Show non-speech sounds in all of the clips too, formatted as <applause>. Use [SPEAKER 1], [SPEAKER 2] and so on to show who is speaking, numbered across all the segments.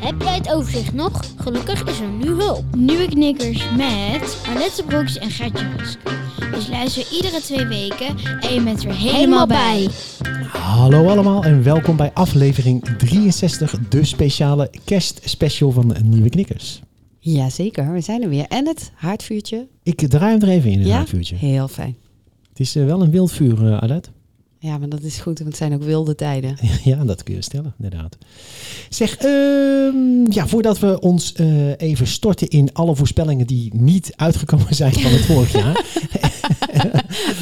[SPEAKER 1] Heb jij het overzicht nog? Gelukkig is er nu hulp.
[SPEAKER 2] Nieuwe knikkers met Alette Brooks en Gertje Rusk. Dus luister iedere twee weken en je bent er helemaal,
[SPEAKER 1] Helemaal
[SPEAKER 2] bij.
[SPEAKER 1] bij.
[SPEAKER 3] Hallo allemaal en welkom bij aflevering 63, de speciale kerstspecial van Nieuwe Knikkers.
[SPEAKER 4] Jazeker, we zijn er weer. En het haardvuurtje.
[SPEAKER 3] Ik draai hem er even in, een
[SPEAKER 4] ja,
[SPEAKER 3] haardvuurtje.
[SPEAKER 4] heel fijn.
[SPEAKER 3] Het is eh, wel een wild vuur, eh, Alet.
[SPEAKER 4] Ja, maar dat is goed, want het zijn ook wilde tijden.
[SPEAKER 3] ja, dat kun je stellen, inderdaad. Zeg, ehm, ja, voordat we ons eh, even storten in alle voorspellingen die niet uitgekomen zijn van het vorig
[SPEAKER 4] <laughs>
[SPEAKER 3] jaar.
[SPEAKER 4] <laughs>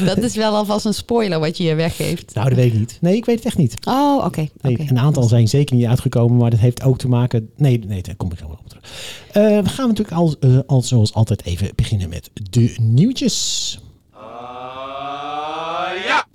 [SPEAKER 4] Dat is wel alvast een spoiler wat je hier weggeeft.
[SPEAKER 3] Nou, dat weet ik niet. Nee, ik weet het echt niet.
[SPEAKER 4] Oh, oké.
[SPEAKER 3] Nee,
[SPEAKER 4] oké.
[SPEAKER 3] Een aantal zijn zeker niet uitgekomen, maar dat heeft ook te maken. Nee, nee daar kom ik helemaal op terug. Eh, we gaan natuurlijk al, eh, al zoals altijd even beginnen met de nieuwtjes. ja.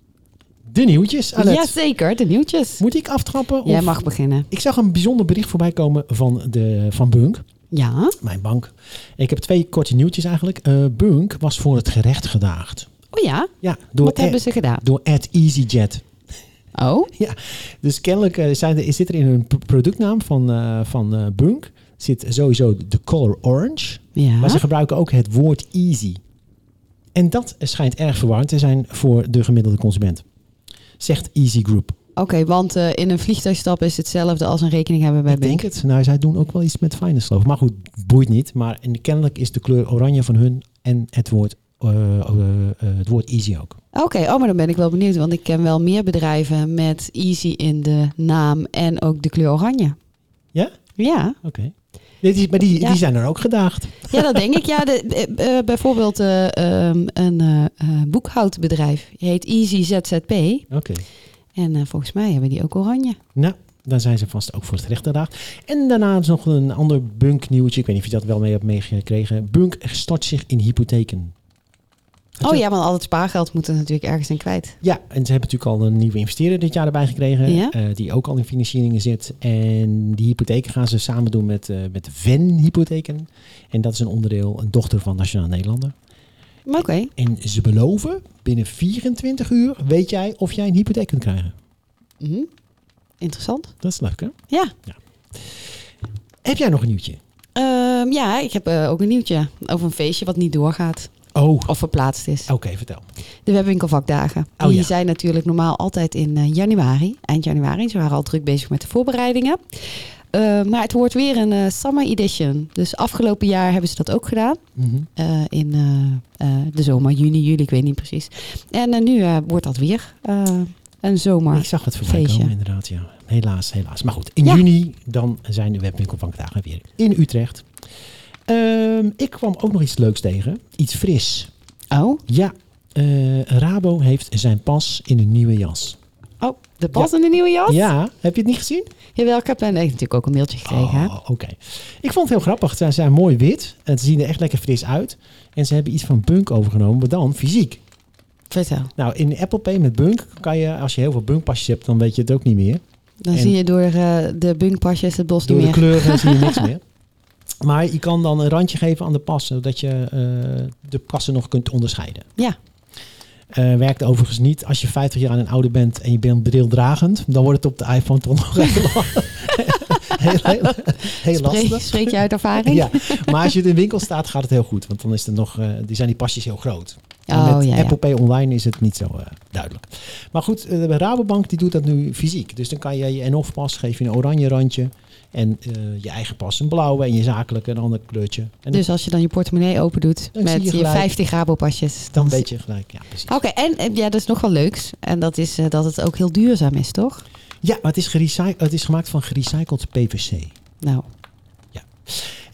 [SPEAKER 3] De nieuwtjes, Alet.
[SPEAKER 4] Jazeker, de nieuwtjes.
[SPEAKER 3] Moet ik aftrappen?
[SPEAKER 4] Jij
[SPEAKER 3] of-
[SPEAKER 4] mag beginnen.
[SPEAKER 3] Ik zag een bijzonder bericht voorbij komen van, de, van Bunk,
[SPEAKER 4] Ja.
[SPEAKER 3] mijn bank. Ik heb twee korte nieuwtjes eigenlijk. Eh, Bunk was voor het gerecht gedaagd.
[SPEAKER 4] Oh ja,
[SPEAKER 3] Ja, door,
[SPEAKER 4] wat hebben
[SPEAKER 3] Ed-
[SPEAKER 4] ze gedaan?
[SPEAKER 3] door Ed EasyJet. <laughs>
[SPEAKER 4] Oh,
[SPEAKER 3] Ja, dus kennelijk eh, zijn er, zit er in een p- productnaam van, eh, van eh, Bunk zit sowieso de color orange.
[SPEAKER 4] ja.
[SPEAKER 3] Maar ze gebruiken ook het woord easy. En dat schijnt erg verwarrend te zijn voor de gemiddelde consument. Zegt Easy Group.
[SPEAKER 4] Oké, want eh, in een vliegtuig stappen is hetzelfde als een rekening hebben bij
[SPEAKER 3] Ik denk
[SPEAKER 4] Bink.
[SPEAKER 3] het. Nou, zij doen ook wel iets met finance geloof ik. Maar goed, boeit niet. Maar en kennelijk is de kleur oranje van hun en het woord, eh, eh, eh, het woord easy ook.
[SPEAKER 4] Oké, oh, maar dan ben ik wel benieuwd, want ik ken wel meer bedrijven met Easy in de naam en ook de kleur oranje.
[SPEAKER 3] Ja?
[SPEAKER 4] Ja,
[SPEAKER 3] Oké. Dit is- Maar die,
[SPEAKER 4] Ja.
[SPEAKER 3] die zijn er ook gedaagd.
[SPEAKER 4] ja dat denk ik. Ja, de, de- eh, bijvoorbeeld eh, ehm, een eh, eh, boekhoudbedrijf, die heet Easy ZZP.
[SPEAKER 3] Oké.
[SPEAKER 4] En eh, volgens mij hebben die ook oranje.
[SPEAKER 3] Nou, daar zijn ze vast ook voor het terecht gedaagd. En daarna is nog een ander bunk nieuwtje. Ik weet niet of je dat wel mee hebt meegekregen. Bunk stort zich in hypotheken. Had
[SPEAKER 4] Oh
[SPEAKER 3] je-
[SPEAKER 4] ja, want al het spaargeld moet er natuurlijk ergens in kwijt.
[SPEAKER 3] Ja, en ze hebben natuurlijk al een nieuwe investeerder dit jaar erbij gekregen.
[SPEAKER 4] Ja.
[SPEAKER 3] eh, die ook al in financieringen zit. En die hypotheken gaan ze samen doen met, eh met Ven Hypotheken. En dat is een onderdeel, een dochter van Nationaal Nederlander.
[SPEAKER 4] Maar oké,
[SPEAKER 3] En ze beloven, binnen 24 uur weet jij of jij een hypotheek kunt krijgen.
[SPEAKER 4] Mhm. interessant.
[SPEAKER 3] Dat is leuk, hè?
[SPEAKER 4] Ja,
[SPEAKER 3] Heb jij nog een nieuwtje?
[SPEAKER 4] Ehm, ja, ik heb eh, ook een nieuwtje over een feestje wat niet doorgaat
[SPEAKER 3] Oh, oké,
[SPEAKER 4] of verplaatst is.
[SPEAKER 3] vertel.
[SPEAKER 4] De webwinkelvakdagen.
[SPEAKER 3] Oh,
[SPEAKER 4] die
[SPEAKER 3] ja.
[SPEAKER 4] zijn natuurlijk normaal altijd in eh, januari, eind januari. Ze waren al druk bezig met de voorbereidingen. Eh, maar het wordt weer een eh, summer edition. Dus afgelopen jaar hebben ze dat ook gedaan.
[SPEAKER 3] Mhm.
[SPEAKER 4] eh, in eh, eh, de zomer, juni, juli, ik weet niet precies. En eh, nu eh, wordt dat weer eh, een zomer.
[SPEAKER 3] Ik zag het voorbij
[SPEAKER 4] feestje.
[SPEAKER 3] komen, inderdaad. Ja. Helaas, helaas. Maar goed, in
[SPEAKER 4] Ja.
[SPEAKER 3] juni dan zijn de webwinkelbankdagen weer in Utrecht. Ehm, ik kwam ook nog iets leuks tegen. Iets fris.
[SPEAKER 4] Oh,
[SPEAKER 3] Ja, eh, Rabo heeft zijn pas in een nieuwe jas.
[SPEAKER 4] oh, de pas in de nieuwe jas?
[SPEAKER 3] Ja, heb je het niet gezien?
[SPEAKER 4] Jawel, ik heb eh, natuurlijk ook een mailtje gekregen. hè.
[SPEAKER 3] Oh, oké. Ik vond het heel grappig. Ze zijn mooi wit. En ze zien er echt lekker fris uit. En ze hebben iets van Bunk overgenomen, maar dan fysiek.
[SPEAKER 4] Vertel.
[SPEAKER 3] Nou, in Apple Pay met Bunk kan je, als je heel veel Bunk-pasjes hebt, dan weet je het ook niet meer.
[SPEAKER 4] Dan
[SPEAKER 3] En-
[SPEAKER 4] zie je door eh, de bunkpasjes het bos
[SPEAKER 3] Door
[SPEAKER 4] niet
[SPEAKER 3] de
[SPEAKER 4] meer.
[SPEAKER 3] kleuren zie je
[SPEAKER 4] <laughs>
[SPEAKER 3] niks meer. Maar je kan dan een randje geven aan de pas, zodat je eh, de passen nog kunt onderscheiden.
[SPEAKER 4] Ja.
[SPEAKER 3] Eh, werkt overigens niet als je 50 jaar en ouder bent en je bent brildragend. Dan wordt het op de iPhone toch nog heel, la- <laughs> heel, heel, heel
[SPEAKER 4] <laughs> Spreek,
[SPEAKER 3] lastig.
[SPEAKER 4] spreek je uit
[SPEAKER 3] <laughs>
[SPEAKER 4] ervaring?
[SPEAKER 3] Ja, maar als je in de winkel staat, gaat het heel goed. Want dan is er nog, eh, die zijn die pasjes heel groot. En
[SPEAKER 4] Oh,
[SPEAKER 3] met
[SPEAKER 4] ja, ja.
[SPEAKER 3] Apple Pay online is het niet zo eh, duidelijk. Maar goed, eh, de Rabobank die doet dat nu fysiek. Dus dan kan je je en-of pas, geef je een oranje randje. En eh, je eigen pas een blauwe en je zakelijke een ander kleurtje. En dan-
[SPEAKER 4] Dus als je dan je portemonnee open doet
[SPEAKER 3] Dan
[SPEAKER 4] met
[SPEAKER 3] zie je
[SPEAKER 4] je,
[SPEAKER 3] gelijk.
[SPEAKER 4] 50 rabopasjes.
[SPEAKER 3] dan weet je gelijk. Ja, precies.
[SPEAKER 4] Oké, en eh, ja, dat is nog wel leuks. En dat is eh, dat het ook heel duurzaam is, toch?
[SPEAKER 3] Ja, maar het is, gerecy- het is gemaakt van gerecycled PVC.
[SPEAKER 4] Nou,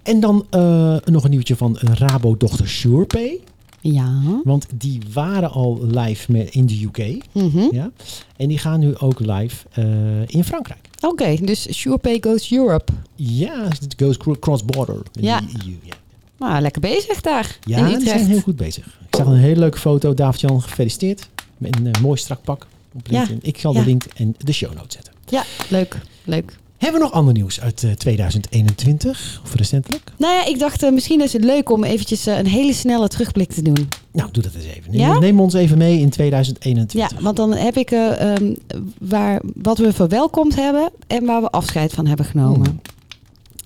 [SPEAKER 3] En dan eh, nog een nieuwtje van Rabo-dochter SurePay.
[SPEAKER 4] ja.
[SPEAKER 3] Want die waren al live met, in de UK.
[SPEAKER 4] Mhm.
[SPEAKER 3] Ja? En die gaan nu ook live eh, in Frankrijk.
[SPEAKER 4] Oké, dus SurePay goes Europe.
[SPEAKER 3] Ja, het goes cro- cross-border. in
[SPEAKER 4] Ja.
[SPEAKER 3] de EU, ja.
[SPEAKER 4] Maar Nou, lekker bezig daar
[SPEAKER 3] Ja,
[SPEAKER 4] in
[SPEAKER 3] die zijn
[SPEAKER 4] Utrecht.
[SPEAKER 3] heel goed bezig. Ik zag een hele leuke foto. David-Jan, gefeliciteerd. Met een eh, mooi strak pak op
[SPEAKER 4] Ja.
[SPEAKER 3] LinkedIn. Ik zal
[SPEAKER 4] Ja.
[SPEAKER 3] de link en de show notes zetten.
[SPEAKER 4] Ja, leuk, leuk.
[SPEAKER 3] Hebben we nog ander nieuws uit eh, 2021? Of recentelijk?
[SPEAKER 4] Nou ja, ik dacht eh, misschien is het leuk om eventjes eh, een hele snelle terugblik te doen.
[SPEAKER 3] Nou, doe dat eens even.
[SPEAKER 4] Ja?
[SPEAKER 3] Neem ons even mee in
[SPEAKER 4] Ja,
[SPEAKER 3] 2021.
[SPEAKER 4] want dan heb ik eh, ehm, waar, wat we verwelkomd hebben en waar we afscheid van hebben genomen.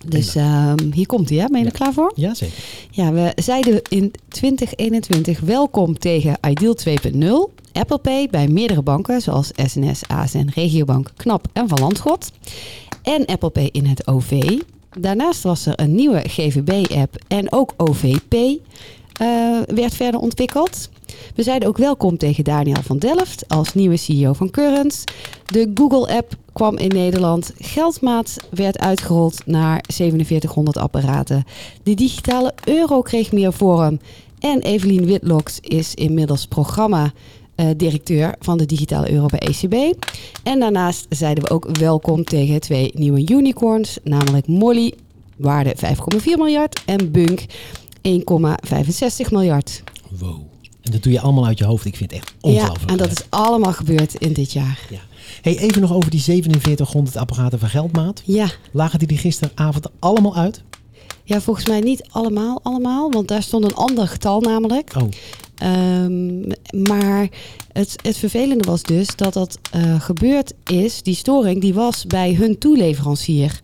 [SPEAKER 4] Dus ehm, hier komt hij, hè? Ben je er
[SPEAKER 3] Ja.
[SPEAKER 4] klaar voor?
[SPEAKER 3] Ja, zeker.
[SPEAKER 4] Ja, we zeiden in 2021 welkom tegen Ideal 2.0, Apple Pay bij meerdere banken zoals SNS, ASN, Regiobank, Knap en Van Landschot. En Apple Pay in het OV. Daarnaast was er een nieuwe GVB-app en ook OVP eh, werd verder ontwikkeld. We zeiden ook welkom tegen Daniel van Delft als nieuwe CEO van Currents. De Google-app kwam in Nederland. Geldmaat werd uitgerold naar 4700 apparaten. De digitale euro kreeg meer vorm. En Evelien Witlokt is inmiddels programma-directeur van de digitale euro bij ECB. En daarnaast zeiden we ook welkom tegen twee nieuwe unicorns, namelijk Molly, waarde 5,4 miljard, en Bunk, 1,65 miljard.
[SPEAKER 3] Wow. En dat doe je allemaal uit je hoofd. Ik vind het echt ongelooflijk.
[SPEAKER 4] Ja, en dat
[SPEAKER 3] leuk.
[SPEAKER 4] is allemaal gebeurd in dit jaar.
[SPEAKER 3] Ja. Hey, even nog over die 4700 apparaten van Geldmaat.
[SPEAKER 4] Ja,
[SPEAKER 3] Lagen die die gisteravond allemaal uit?
[SPEAKER 4] ja volgens mij niet allemaal, allemaal, want daar stond een ander getal namelijk.
[SPEAKER 3] Oh,
[SPEAKER 4] Ehm, maar het, het vervelende was dus dat dat eh, gebeurd is, die storing, die was bij hun toeleverancier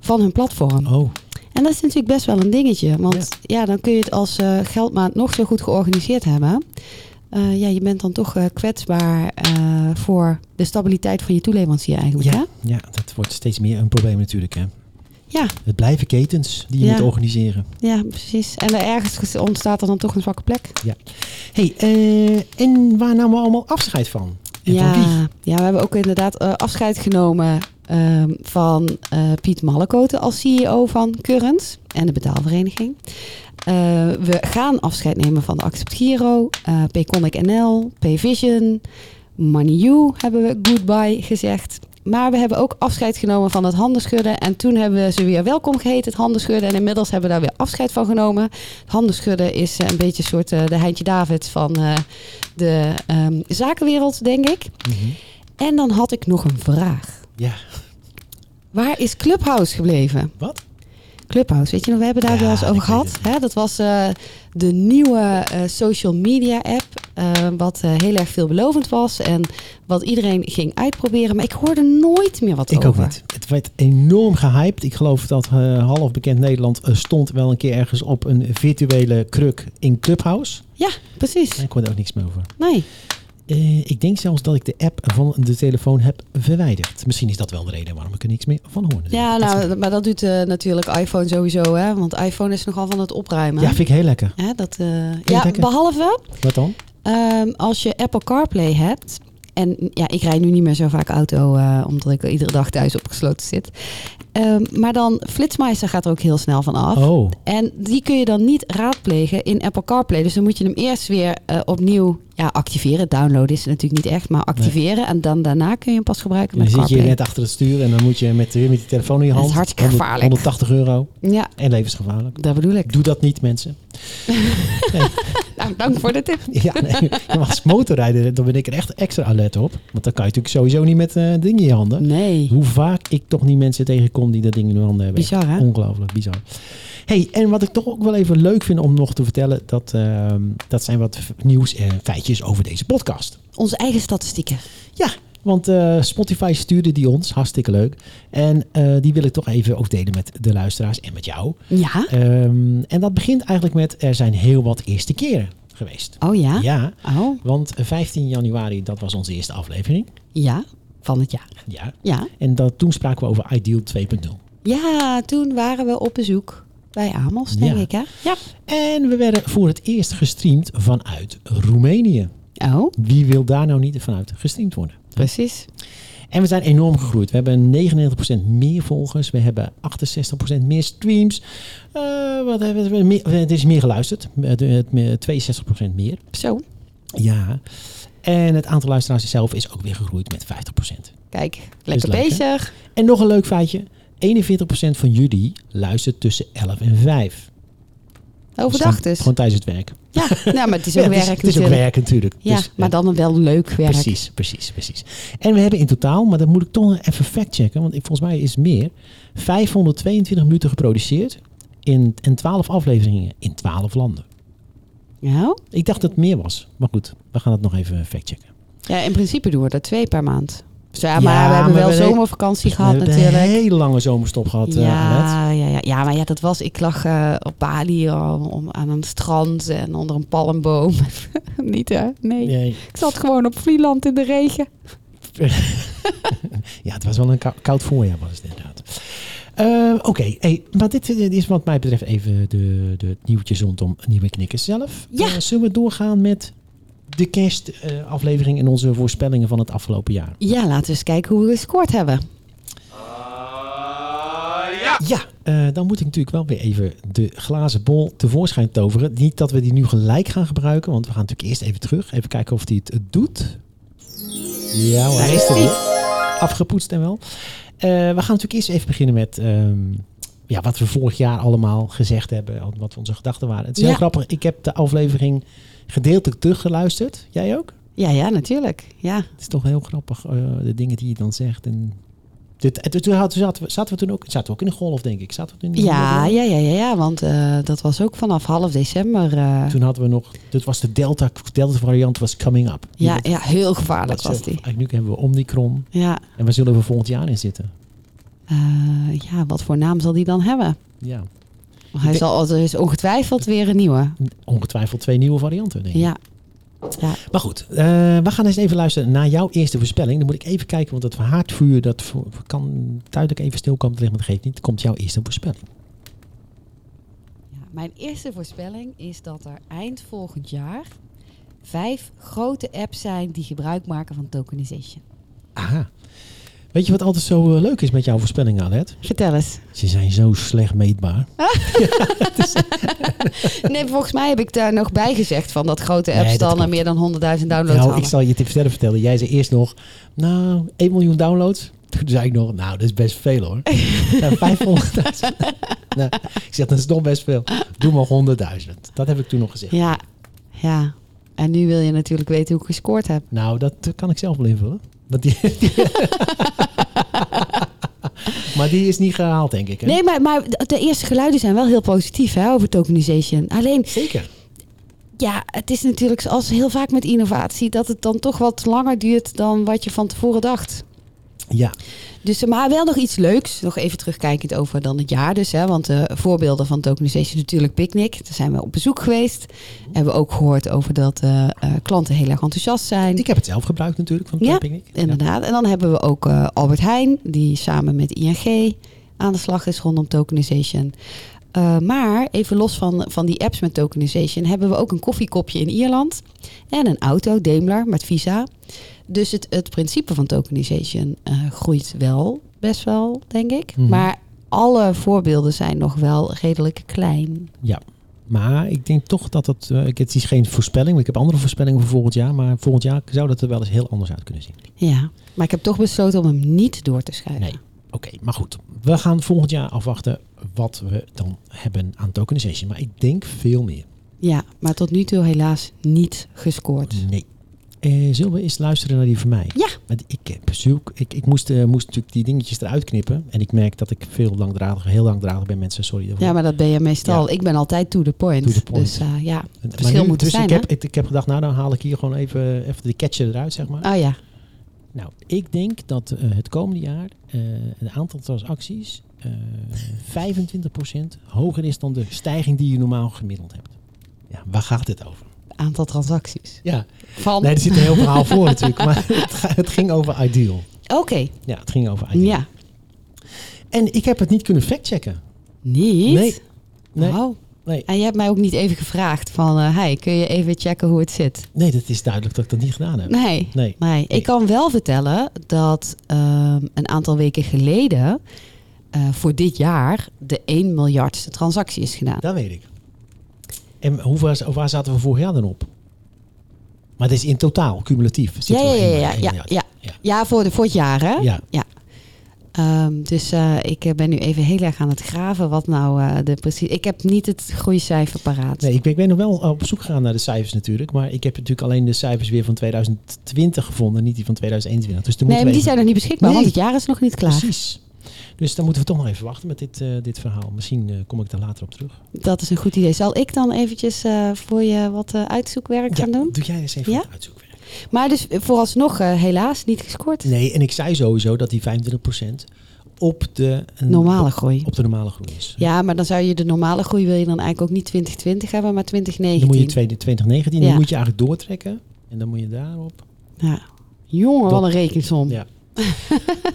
[SPEAKER 4] van hun platform.
[SPEAKER 3] oh.
[SPEAKER 4] En dat is natuurlijk best wel een dingetje. Want ja, dan kun je het als eh, geldmaat nog zo goed georganiseerd hebben. Eh, ja, je bent dan toch eh, kwetsbaar eh, voor de stabiliteit van je toeleverancier eigenlijk. hè?
[SPEAKER 3] Ja, ja, dat wordt steeds meer een probleem natuurlijk. Hè.
[SPEAKER 4] Ja,
[SPEAKER 3] Het blijven ketens die je
[SPEAKER 4] Ja.
[SPEAKER 3] moet organiseren.
[SPEAKER 4] ja, precies. En er ergens ontstaat er dan toch een zwakke plek.
[SPEAKER 3] hey, eh, en waar namen we allemaal afscheid van? En
[SPEAKER 4] ja,
[SPEAKER 3] van wie?
[SPEAKER 4] ja, we hebben ook inderdaad eh, afscheid genomen ehm, van eh, Piet Mallekoten als CEO van Currents en de betaalvereniging. Eh, we gaan afscheid nemen van Accept Giro, eh Payconic NL, Payvision, MoneyU hebben we goodbye gezegd. Maar we hebben ook afscheid genomen van het handenschudden. En toen hebben we ze weer welkom geheten, het handenschudden. En inmiddels hebben we daar weer afscheid van genomen. Het handenschudden is eh, een beetje een soort eh, de Heintje Davids van eh, de ehm, zakenwereld, denk ik.
[SPEAKER 3] Mhm.
[SPEAKER 4] En dan had ik nog een vraag.
[SPEAKER 3] Ja,
[SPEAKER 4] Waar is Clubhouse gebleven?
[SPEAKER 3] wat?
[SPEAKER 4] Clubhouse, weet je nog, we hebben daar
[SPEAKER 3] Ja,
[SPEAKER 4] wel eens over
[SPEAKER 3] ik weet
[SPEAKER 4] gehad.
[SPEAKER 3] het.
[SPEAKER 4] Hè? Dat was eh, de nieuwe eh, social media app, eh, wat eh, heel erg veelbelovend was en wat iedereen ging uitproberen. Maar ik hoorde nooit meer wat
[SPEAKER 3] Ik
[SPEAKER 4] over.
[SPEAKER 3] ook niet. Het werd enorm gehyped. Ik geloof dat eh, half bekend Nederland eh, stond wel een keer ergens op een virtuele kruk in Clubhouse.
[SPEAKER 4] Ja, precies.
[SPEAKER 3] En ik hoorde ook niks meer over.
[SPEAKER 4] Nee.
[SPEAKER 3] Eh, ik denk zelfs dat ik de app van de telefoon heb verwijderd. Misschien is dat wel de reden waarom ik er niks meer van hoor.
[SPEAKER 4] Ja,
[SPEAKER 3] Dat is-
[SPEAKER 4] nou, maar dat doet eh, natuurlijk iPhone sowieso, hè? Want iPhone is nogal van het opruimen.
[SPEAKER 3] ja, vind ik heel lekker.
[SPEAKER 4] Hè, dat, eh, ja
[SPEAKER 3] lekker.
[SPEAKER 4] behalve
[SPEAKER 3] Wat dan?
[SPEAKER 4] Ehm, als je Apple CarPlay hebt. En ja, ik rijd nu niet meer zo vaak auto, eh, omdat ik iedere dag thuis opgesloten zit. Ehm, maar dan Flitsmeister gaat er ook heel snel van af.
[SPEAKER 3] Oh,
[SPEAKER 4] En die kun je dan niet raadplegen in Apple CarPlay. Dus dan moet je hem eerst weer eh, opnieuw ja, activeren. Downloaden is natuurlijk niet echt, maar activeren. En dan daarna kun je hem pas gebruiken
[SPEAKER 3] dan
[SPEAKER 4] met
[SPEAKER 3] zit je
[SPEAKER 4] CarPlay.
[SPEAKER 3] net achter het stuur en dan moet je met, weer met die telefoon in je
[SPEAKER 4] Dat
[SPEAKER 3] hand.
[SPEAKER 4] is hartstikke gevaarlijk.
[SPEAKER 3] 180 euro
[SPEAKER 4] Ja,
[SPEAKER 3] en levensgevaarlijk.
[SPEAKER 4] dat bedoel ik.
[SPEAKER 3] Doe dat niet, mensen. <laughs>
[SPEAKER 4] Nou, dank voor de tip.
[SPEAKER 3] Ja, nee. Ja, maar als motorrijder dan ben ik er echt extra alert op. Want dan kan je natuurlijk sowieso niet met eh dingen in je handen.
[SPEAKER 4] Nee,
[SPEAKER 3] Hoe vaak ik toch niet mensen tegenkom die dat ding in hun handen hebben.
[SPEAKER 4] bizar hè?
[SPEAKER 3] Ongelooflijk bizar. Hey, en wat ik toch ook wel even leuk vind om nog te vertellen, dat, ehm, dat zijn wat v- nieuws en feitjes over deze podcast.
[SPEAKER 4] Onze eigen statistieken.
[SPEAKER 3] Ja, want eh, Spotify stuurde die ons, hartstikke leuk. En eh, die wil ik toch even ook delen met de luisteraars en met jou.
[SPEAKER 4] Ja?
[SPEAKER 3] Ehm, en dat begint eigenlijk met, er zijn heel wat eerste keren geweest.
[SPEAKER 4] Oh ja?
[SPEAKER 3] Ja,
[SPEAKER 4] Oh,
[SPEAKER 3] want 15 januari, dat was onze eerste aflevering.
[SPEAKER 4] ja. Van het jaar.
[SPEAKER 3] Ja.
[SPEAKER 4] Ja.
[SPEAKER 3] En dat, toen spraken we over Ideal 2.0.
[SPEAKER 4] Ja, toen waren we op bezoek bij Amos, denk
[SPEAKER 3] Ja.
[SPEAKER 4] ik, hè? Ja.
[SPEAKER 3] En we werden voor het eerst gestreamd vanuit Roemenië.
[SPEAKER 4] Oh,
[SPEAKER 3] Wie wil daar nou niet vanuit gestreamd worden?
[SPEAKER 4] precies.
[SPEAKER 3] En we zijn enorm gegroeid. We hebben 99% meer volgers. We hebben 68% meer streams. Eh, wat hebben we? Meer, het is meer geluisterd. Het- het- het- 62% meer.
[SPEAKER 4] Zo,
[SPEAKER 3] Ja. En het aantal luisteraars zelf is ook weer gegroeid met 50%.
[SPEAKER 4] kijk, lekker
[SPEAKER 3] leuk, hè?
[SPEAKER 4] bezig.
[SPEAKER 3] En nog een leuk feitje. 41% van jullie luistert tussen 11 en 5.
[SPEAKER 4] Overdag
[SPEAKER 3] gewoon,
[SPEAKER 4] dus.
[SPEAKER 3] Gewoon tijdens het werk.
[SPEAKER 4] Ja,
[SPEAKER 3] <laughs>
[SPEAKER 4] nou, maar het is
[SPEAKER 3] Ja,
[SPEAKER 4] ook
[SPEAKER 3] het is-
[SPEAKER 4] werk
[SPEAKER 3] Het is ook
[SPEAKER 4] natuurlijk.
[SPEAKER 3] werk natuurlijk.
[SPEAKER 4] Ja,
[SPEAKER 3] Dus, eh,
[SPEAKER 4] maar dan wel leuk werk.
[SPEAKER 3] Precies, precies, precies. En we hebben in totaal, maar dat moet ik toch nog even factchecken, want ik, volgens mij is het meer, 522 minuten geproduceerd in, en 12 afleveringen in 12 landen.
[SPEAKER 4] Nou,
[SPEAKER 3] Ik dacht dat het meer was, maar goed, we gaan het nog even factchecken.
[SPEAKER 4] ja, in principe doen we dat twee per maand. Dus ja,
[SPEAKER 3] Ja,
[SPEAKER 4] maar we hebben
[SPEAKER 3] maar
[SPEAKER 4] wel
[SPEAKER 3] we-
[SPEAKER 4] zomervakantie gehad
[SPEAKER 3] Dus we hebben
[SPEAKER 4] natuurlijk.
[SPEAKER 3] een hele lange zomerstop gehad. eh, Annette.
[SPEAKER 4] ja, ja, ja, ja, maar ja, dat was. Ik lag eh, op Bali eh, om, aan een strand en onder een palmboom. <laughs> Niet hè? Nee.
[SPEAKER 3] Nee.
[SPEAKER 4] Ik zat gewoon op Vlieland in de regen.
[SPEAKER 3] Ja, het was wel een kou- koud voorjaar was het inderdaad. Eh, Oké, hey, maar dit eh, is wat mij betreft even de, de het nieuwtjes rondom Nieuwe Knikkers zelf.
[SPEAKER 4] Ja.
[SPEAKER 3] Eh, zullen we doorgaan met de kerstaflevering eh, en onze voorspellingen van het afgelopen jaar?
[SPEAKER 4] Ja, laten we eens kijken hoe we gescoord hebben.
[SPEAKER 3] Ja, eh, dan moet ik natuurlijk wel weer even de glazen bol tevoorschijn toveren. Niet dat we die nu gelijk gaan gebruiken, want we gaan natuurlijk eerst even terug. Even kijken of die het doet. Ja, hoor,
[SPEAKER 4] Daar is
[SPEAKER 3] hij
[SPEAKER 4] die.
[SPEAKER 3] weer. Afgepoetst en wel. Eh, we gaan natuurlijk eerst even beginnen met ehm, ja, wat we vorig jaar allemaal gezegd hebben. al- Wat onze gedachten waren. Het is
[SPEAKER 4] Ja.
[SPEAKER 3] heel grappig. Ik heb de aflevering gedeeltelijk teruggeluisterd. Jij ook?
[SPEAKER 4] Ja, ja, natuurlijk. Ja.
[SPEAKER 3] Het is toch heel grappig, eh, de dingen die je dan zegt. En dit, en toen hadden- zaten, we, zaten we toen ook, zaten we ook in de golf, denk ik. Zaten we toen in de
[SPEAKER 4] Ja,
[SPEAKER 3] golf?
[SPEAKER 4] ja, ja, ja, ja, want eh, dat was ook vanaf half december. eh,
[SPEAKER 3] Toen hadden we nog, dit was de Delta, Delta variant was coming up. Die
[SPEAKER 4] ja,
[SPEAKER 3] werd-
[SPEAKER 4] ja, heel gevaarlijk
[SPEAKER 3] werd
[SPEAKER 4] was
[SPEAKER 3] zelf-
[SPEAKER 4] die.
[SPEAKER 3] eigenlijk Nu hebben we Omicron
[SPEAKER 4] Ja.
[SPEAKER 3] en waar zullen we volgend jaar in zitten?
[SPEAKER 4] Eh, ja, wat voor naam zal die dan hebben?
[SPEAKER 3] Ja,
[SPEAKER 4] Hij zal, er is ongetwijfeld weer een nieuwe.
[SPEAKER 3] ongetwijfeld twee nieuwe varianten, denk ik.
[SPEAKER 4] Ja.
[SPEAKER 3] Maar goed, eh, we gaan eens even luisteren naar jouw eerste voorspelling. Dan moet ik even kijken, want het haardvuur dat vo- kan duidelijk even stilkomen te liggen, maar dat geeft niet. Komt jouw eerste voorspelling.
[SPEAKER 4] Ja, mijn eerste voorspelling is dat er eind volgend jaar vijf grote apps zijn die gebruik maken van tokenization.
[SPEAKER 3] Aha. Weet je wat altijd zo eh, leuk is met jouw voorspellingen, Alet?
[SPEAKER 4] Vertel eens.
[SPEAKER 3] Ze zijn zo slecht meetbaar.
[SPEAKER 4] Nee, volgens mij heb ik daar nog bij gezegd van dat grote
[SPEAKER 3] Nee,
[SPEAKER 4] apps
[SPEAKER 3] dat
[SPEAKER 4] dan
[SPEAKER 3] klopt.
[SPEAKER 4] meer dan 100.000 downloads
[SPEAKER 3] Nou,
[SPEAKER 4] hadden.
[SPEAKER 3] ik zal je het verder vertellen. Jij zei eerst nog, nou, 1 miljoen downloads. <laughs> Toen zei ik nog, nou, dat is best veel
[SPEAKER 4] <laughs>
[SPEAKER 3] hoor. nou, 500.000. <laughs> nou, ik zeg, dat is nog best veel. Doe maar 100.000. Dat heb ik toen nog gezegd.
[SPEAKER 4] Ja, ja. En nu wil je natuurlijk weten hoe ik gescoord heb.
[SPEAKER 3] Nou, dat eh, kan ik zelf wel invullen. Want die, <laughs> die- maar die is niet gehaald, denk ik. Hè?
[SPEAKER 4] Nee, maar, maar de de eerste geluiden zijn wel heel positief hè, over tokenization. Alleen,
[SPEAKER 3] Zeker.
[SPEAKER 4] ja, het is natuurlijk zoals heel vaak met innovatie... dat het dan toch wat langer duurt dan wat je van tevoren dacht.
[SPEAKER 3] Ja,
[SPEAKER 4] Dus, eh, maar wel nog iets leuks. Nog even terugkijkend over dan het jaar dus. Hè, want eh, voorbeelden van tokenisation natuurlijk Picnic. Daar zijn we op bezoek geweest. Hebben we ook gehoord over dat eh, eh, klanten heel erg enthousiast zijn.
[SPEAKER 3] ik heb het zelf gebruikt natuurlijk van
[SPEAKER 4] Ja,
[SPEAKER 3] Camping.
[SPEAKER 4] Inderdaad. En dan hebben we ook eh, Albert Heijn. Die samen met ING aan de slag is rondom tokenisation. Eh, maar even los van, van die apps met tokenisation... hebben we ook een koffiekopje in Ierland. En een auto, Daimler, met Visa. Dus het, het principe van tokenisation eh, groeit wel best wel, denk ik.
[SPEAKER 3] Mhm.
[SPEAKER 4] Maar alle voorbeelden zijn nog wel redelijk klein.
[SPEAKER 3] Ja, maar ik denk toch dat het... eh, ik- het is geen voorspelling, want ik heb andere voorspellingen voor volgend jaar. Maar volgend jaar zou dat er wel eens heel anders uit kunnen zien.
[SPEAKER 4] Ja, maar ik heb toch besloten om hem niet door te schrijven.
[SPEAKER 3] Nee. Oké, maar goed. We gaan volgend jaar afwachten wat we dan hebben aan tokenization. Maar ik denk veel meer.
[SPEAKER 4] Ja, maar tot nu toe helaas niet gescoord.
[SPEAKER 3] Nee. Eh, zullen we eens luisteren naar die van mij?
[SPEAKER 4] Ja.
[SPEAKER 3] Want ik, heb zulk- ik, ik moest, eh, moest natuurlijk die dingetjes eruit knippen. En ik merk dat ik veel langdradig, heel langdradig ben mensen. Sorry. daarvoor.
[SPEAKER 4] Ja, maar dat ben je meestal. Ik ben altijd to the point.
[SPEAKER 3] To the point.
[SPEAKER 4] Dus eh, ja,
[SPEAKER 3] En- maar
[SPEAKER 4] verschil
[SPEAKER 3] nu-
[SPEAKER 4] moet er
[SPEAKER 3] dus
[SPEAKER 4] zijn,
[SPEAKER 3] ik
[SPEAKER 4] hè?
[SPEAKER 3] heb, ik, ik heb gedacht, nou dan haal ik hier gewoon even, even de catcher eruit, zeg maar.
[SPEAKER 4] Oh ja.
[SPEAKER 3] Nou, ik denk dat eh, het komende jaar eh het aantal transacties eh 25% hoger is dan de stijging die je normaal gemiddeld hebt. Ja, waar gaat dit over?
[SPEAKER 4] Aantal transacties.
[SPEAKER 3] Ja,
[SPEAKER 4] Van.
[SPEAKER 3] nee, er zit een heel verhaal
[SPEAKER 4] <laughs>
[SPEAKER 3] voor natuurlijk, maar het, ga- het ging over Ideal.
[SPEAKER 4] Oké.
[SPEAKER 3] Ja, het ging over Ideal.
[SPEAKER 4] Ja.
[SPEAKER 3] En ik heb het niet kunnen factchecken.
[SPEAKER 4] Niet?
[SPEAKER 3] Nee. Nee.
[SPEAKER 4] Wauw.
[SPEAKER 3] Nee.
[SPEAKER 4] En je hebt mij ook niet even gevraagd van... eh hey, kun je even checken hoe het zit?
[SPEAKER 3] nee, dat is duidelijk dat ik dat niet gedaan
[SPEAKER 4] <laughs>
[SPEAKER 3] heb.
[SPEAKER 4] Nee.
[SPEAKER 3] Nee.
[SPEAKER 4] Nee, ik kan wel vertellen dat ehm, een aantal weken geleden... eh, voor dit jaar de 1 miljardste transactie is gedaan.
[SPEAKER 3] Dat weet ik. En hoe, waar, waar zaten we vorig jaar dan op? Maar dit is in totaal, cumulatief. zitten
[SPEAKER 4] Ja, ja,
[SPEAKER 3] we
[SPEAKER 4] ja,
[SPEAKER 3] in bij
[SPEAKER 4] ja,
[SPEAKER 3] één
[SPEAKER 4] ja,
[SPEAKER 3] miljard.
[SPEAKER 4] ja.
[SPEAKER 3] Ja.
[SPEAKER 4] Ja, voor, de, voor het jaar, hè?
[SPEAKER 3] Ja.
[SPEAKER 4] Ehm, dus eh, ik eh, ben nu even heel erg aan het graven wat nou eh, de precies... Ik heb niet het groeicijfer paraat.
[SPEAKER 3] Nee, ik ben, ik ben nog wel op zoek gegaan naar de cijfers natuurlijk. Maar ik heb natuurlijk alleen de cijfers weer van 2020 gevonden, niet die van 2021. Dus dan
[SPEAKER 4] Nee, maar
[SPEAKER 3] moeten
[SPEAKER 4] die
[SPEAKER 3] we
[SPEAKER 4] zijn nog niet beschikbaar,
[SPEAKER 3] Nee.
[SPEAKER 4] want het jaar is nog niet
[SPEAKER 3] even-
[SPEAKER 4] klaar.
[SPEAKER 3] Precies. Dus dan moeten we toch nog even wachten met dit, eh, dit verhaal. Misschien eh, kom ik daar later op terug.
[SPEAKER 4] Dat is een goed idee. Zal ik dan eventjes eh, voor je wat eh, uitzoekwerk gaan doen?
[SPEAKER 3] doe jij eens even
[SPEAKER 4] Ja?
[SPEAKER 3] het uitzoekwerk.
[SPEAKER 4] Maar dus vooralsnog eh, helaas niet gescoord.
[SPEAKER 3] Nee, en ik zei sowieso dat die 25% op de, een-
[SPEAKER 4] Normale groei.
[SPEAKER 3] op de normale groei is.
[SPEAKER 4] Ja, maar dan zou je de normale groei wil je dan eigenlijk ook niet 2020 hebben, maar
[SPEAKER 3] Dan
[SPEAKER 4] 2019.
[SPEAKER 3] moet je 2019,
[SPEAKER 4] Ja.
[SPEAKER 3] die moet je eigenlijk doortrekken. En dan moet je
[SPEAKER 4] <laughs>
[SPEAKER 3] daarop.
[SPEAKER 4] Ja. Jongen, wat een rekensom.
[SPEAKER 3] Ja.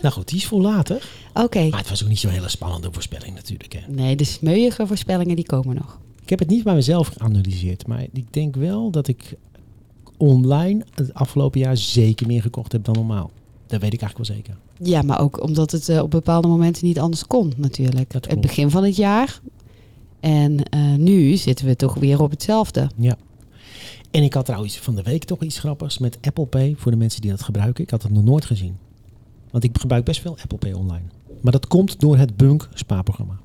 [SPEAKER 3] nou goed, die is voor later.
[SPEAKER 4] Oké.
[SPEAKER 3] Maar het was ook niet zo'n hele spannende voorspelling natuurlijk. Hè.
[SPEAKER 4] Nee, de smeuïge voorspellingen die komen nog.
[SPEAKER 3] Ik heb het niet bij mezelf geanalyseerd. Maar ik denk wel dat ik online het afgelopen jaar zeker meer gekocht heb dan normaal. Dat weet ik eigenlijk wel zeker.
[SPEAKER 4] Ja, maar ook omdat het eh, op bepaalde momenten niet anders kon natuurlijk.
[SPEAKER 3] Dat
[SPEAKER 4] Het
[SPEAKER 3] klopt.
[SPEAKER 4] begin van het jaar. En eh, nu zitten we toch weer op hetzelfde.
[SPEAKER 3] Ja. En ik had trouwens van de week toch iets grappigs met Apple Pay. Voor de mensen die dat gebruiken. Ik had het nog nooit gezien. Want ik gebruik best veel Apple Pay online. Maar dat komt door het Bunk spaarprogramma.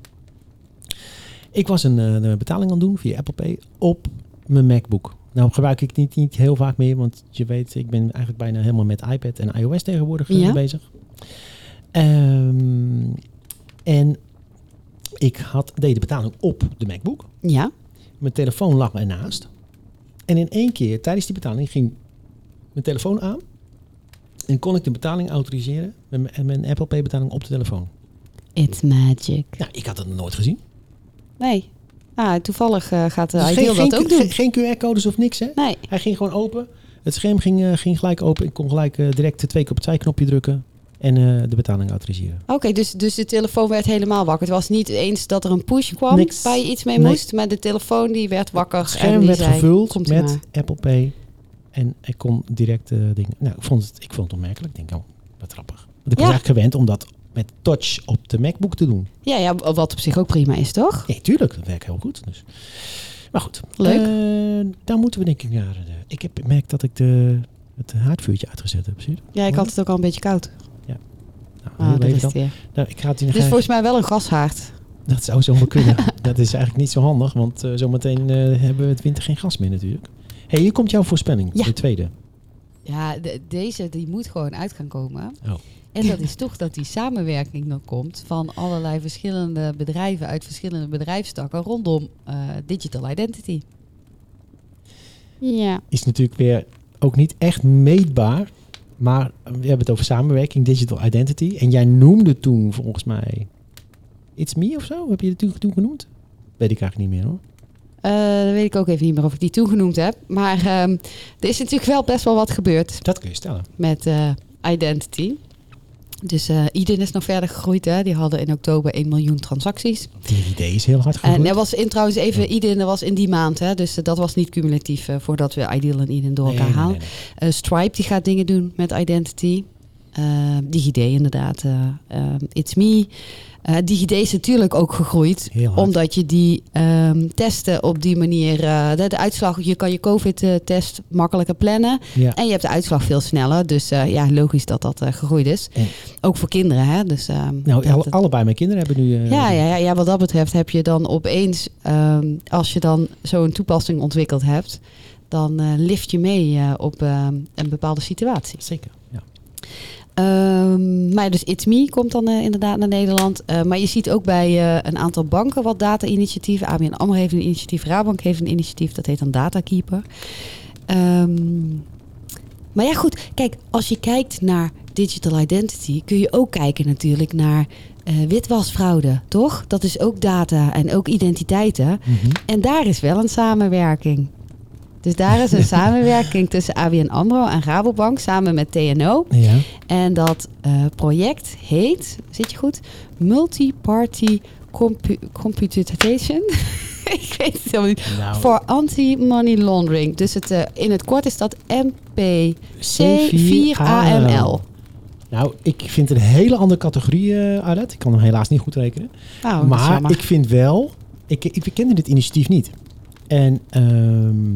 [SPEAKER 3] Ik was een, eh, een betaling aan het doen via Apple Pay op mijn MacBook. Nou gebruik ik niet, niet heel vaak meer. Want je weet, ik ben eigenlijk bijna helemaal met iPad en iOS tegenwoordig eh,
[SPEAKER 4] Ja.
[SPEAKER 3] bezig. Ehm, en ik had, deed de betaling op de MacBook.
[SPEAKER 4] Ja,
[SPEAKER 3] Mijn telefoon lag mij naast. En in één keer, tijdens die betaling, ging mijn telefoon aan. En kon ik de betaling autoriseren met mijn, mijn Apple Pay betaling op de telefoon.
[SPEAKER 4] it's magic.
[SPEAKER 3] Nou, ik had dat nog nooit gezien.
[SPEAKER 4] Nee. Ah, toevallig eh, gaat de
[SPEAKER 3] Dus
[SPEAKER 4] Ideal
[SPEAKER 3] geen,
[SPEAKER 4] dat
[SPEAKER 3] geen-
[SPEAKER 4] ook doen.
[SPEAKER 3] Geen geen QR-codes of niks, hè?
[SPEAKER 4] Nee.
[SPEAKER 3] Hij ging gewoon open. Het scherm ging, eh, ging gelijk open. Ik kon gelijk eh, direct de twee keer op het zijknopje drukken. En eh, de betaling autoriseren.
[SPEAKER 4] Oké, dus, dus de telefoon werd helemaal wakker. Het was niet eens dat er een push kwam
[SPEAKER 3] Niks.
[SPEAKER 4] waar je iets mee
[SPEAKER 3] Nee.
[SPEAKER 4] moest, maar de telefoon die werd wakker.
[SPEAKER 3] Het scherm
[SPEAKER 4] en die
[SPEAKER 3] werd
[SPEAKER 4] zei,
[SPEAKER 3] gevuld
[SPEAKER 4] "Komt u
[SPEAKER 3] met
[SPEAKER 4] maar."
[SPEAKER 3] Apple Pay. En ik kon direct eh, dingen. Nou, ik vond, het, ik vond het opmerkelijk. Ik denk, oh, wat grappig. Want ik
[SPEAKER 4] Ja.
[SPEAKER 3] was eigenlijk gewend om dat met touch op de MacBook te doen.
[SPEAKER 4] Ja, ja, wat op zich ook prima is, toch?
[SPEAKER 3] Nee, tuurlijk. Dat werkt heel goed. Dus. Maar goed.
[SPEAKER 4] Leuk.
[SPEAKER 3] Eh, daar moeten we denk ik naar. eh, ik heb merk dat ik de, het haardvuurtje uitgezet heb. Zie je?
[SPEAKER 4] Ja, ik had het ook al een beetje koud.
[SPEAKER 3] Nou,
[SPEAKER 4] Ah,
[SPEAKER 3] heel
[SPEAKER 4] dat
[SPEAKER 3] even
[SPEAKER 4] is
[SPEAKER 3] dan.
[SPEAKER 4] het weer.
[SPEAKER 3] Nou, ik ga het in de
[SPEAKER 4] Dus volgens mij wel een gashaard.
[SPEAKER 3] Dat zou zomaar kunnen. <laughs> dat is eigenlijk niet zo handig, want eh, zometeen eh, hebben we het winter geen gas meer natuurlijk. hey, hier komt jouw voorspelling.
[SPEAKER 4] Ja.
[SPEAKER 3] De tweede.
[SPEAKER 4] Ja, de- deze die moet gewoon uit gaan komen.
[SPEAKER 3] Oh.
[SPEAKER 4] En dat is toch dat die samenwerking nog komt van allerlei verschillende bedrijven uit verschillende bedrijfstakken rondom eh, digital identity. Ja.
[SPEAKER 3] is natuurlijk weer ook niet echt meetbaar. Maar eh, we hebben het over samenwerking, digital identity. En jij noemde toen volgens mij It's Me of zo? Heb je het toen, toen genoemd? Weet ik eigenlijk niet meer hoor.
[SPEAKER 4] Eh, dan weet ik ook even niet meer of ik die toegenoemd heb. Maar ehm, er is natuurlijk wel best wel wat gebeurd
[SPEAKER 3] Dat kun je stellen.
[SPEAKER 4] met eh, Identity. Dus eh Eden is nog verder gegroeid. Hè? Die hadden in oktober 1 miljoen transacties.
[SPEAKER 3] Die idee is heel hard
[SPEAKER 4] En
[SPEAKER 3] gegroeid.
[SPEAKER 4] er was in, trouwens even Eden, dat was in die maand. Hè? Dus eh, dat was niet cumulatief eh, voordat we Ideal en Eden door
[SPEAKER 3] Nee,
[SPEAKER 4] elkaar
[SPEAKER 3] nee, nee,
[SPEAKER 4] halen.
[SPEAKER 3] nee.
[SPEAKER 4] Eh, Stripe die gaat dingen doen met Identity. Eh DigiD inderdaad. eh, eh, It's Me. Eh DigiD is natuurlijk ook gegroeid.
[SPEAKER 3] Heel hard.
[SPEAKER 4] Omdat je die ehm, testen op die manier... eh, de, de uitslag, je kan je COVID-test makkelijker plannen.
[SPEAKER 3] Ja.
[SPEAKER 4] En je hebt de uitslag veel sneller. Dus eh, ja, logisch dat dat eh, gegroeid is.
[SPEAKER 3] En-
[SPEAKER 4] Ook voor kinderen, hè. Dus, ehm,
[SPEAKER 3] Nou,
[SPEAKER 4] dat
[SPEAKER 3] alle-
[SPEAKER 4] het-
[SPEAKER 3] allebei mijn kinderen hebben nu... eh,
[SPEAKER 4] ja, ja, ja, ja, wat dat betreft heb je dan opeens... ehm, als je dan zo'n toepassing ontwikkeld hebt... dan eh, lift je mee eh, op ehm, een bepaalde situatie.
[SPEAKER 3] Zeker, ja.
[SPEAKER 4] Ehm, maar dus It's Me komt dan eh, inderdaad naar Nederland. Eh, maar je ziet ook bij eh, een aantal banken wat data-initiatieven. ABN AMRO heeft een initiatief, Rabank heeft een initiatief. Dat heet dan Datakeeper. Ehm, maar ja goed, kijk, als je kijkt naar digital identity... kun je ook kijken natuurlijk naar eh, witwasfraude, toch? Dat is ook data en ook identiteiten. En daar is wel een samenwerking. Dus daar is een samenwerking tussen ABN AMRO en Rabobank... samen met TNO...
[SPEAKER 3] ja.
[SPEAKER 4] En dat eh, project heet, zit je goed? Multi-party compu- computation. <laughs> ik weet het helemaal niet.
[SPEAKER 3] Nou,
[SPEAKER 4] Voor anti-money laundering. Dus het, eh, in het kort is dat Oh, MPC4AML.
[SPEAKER 3] C4AML. nou, ik vind het een hele andere categorie, eh Arlet. Ik kan hem helaas niet goed rekenen.
[SPEAKER 4] Nou, dat is
[SPEAKER 3] maar
[SPEAKER 4] jammer.
[SPEAKER 3] ik vind wel, ik, ik kende dit initiatief niet. En ehm,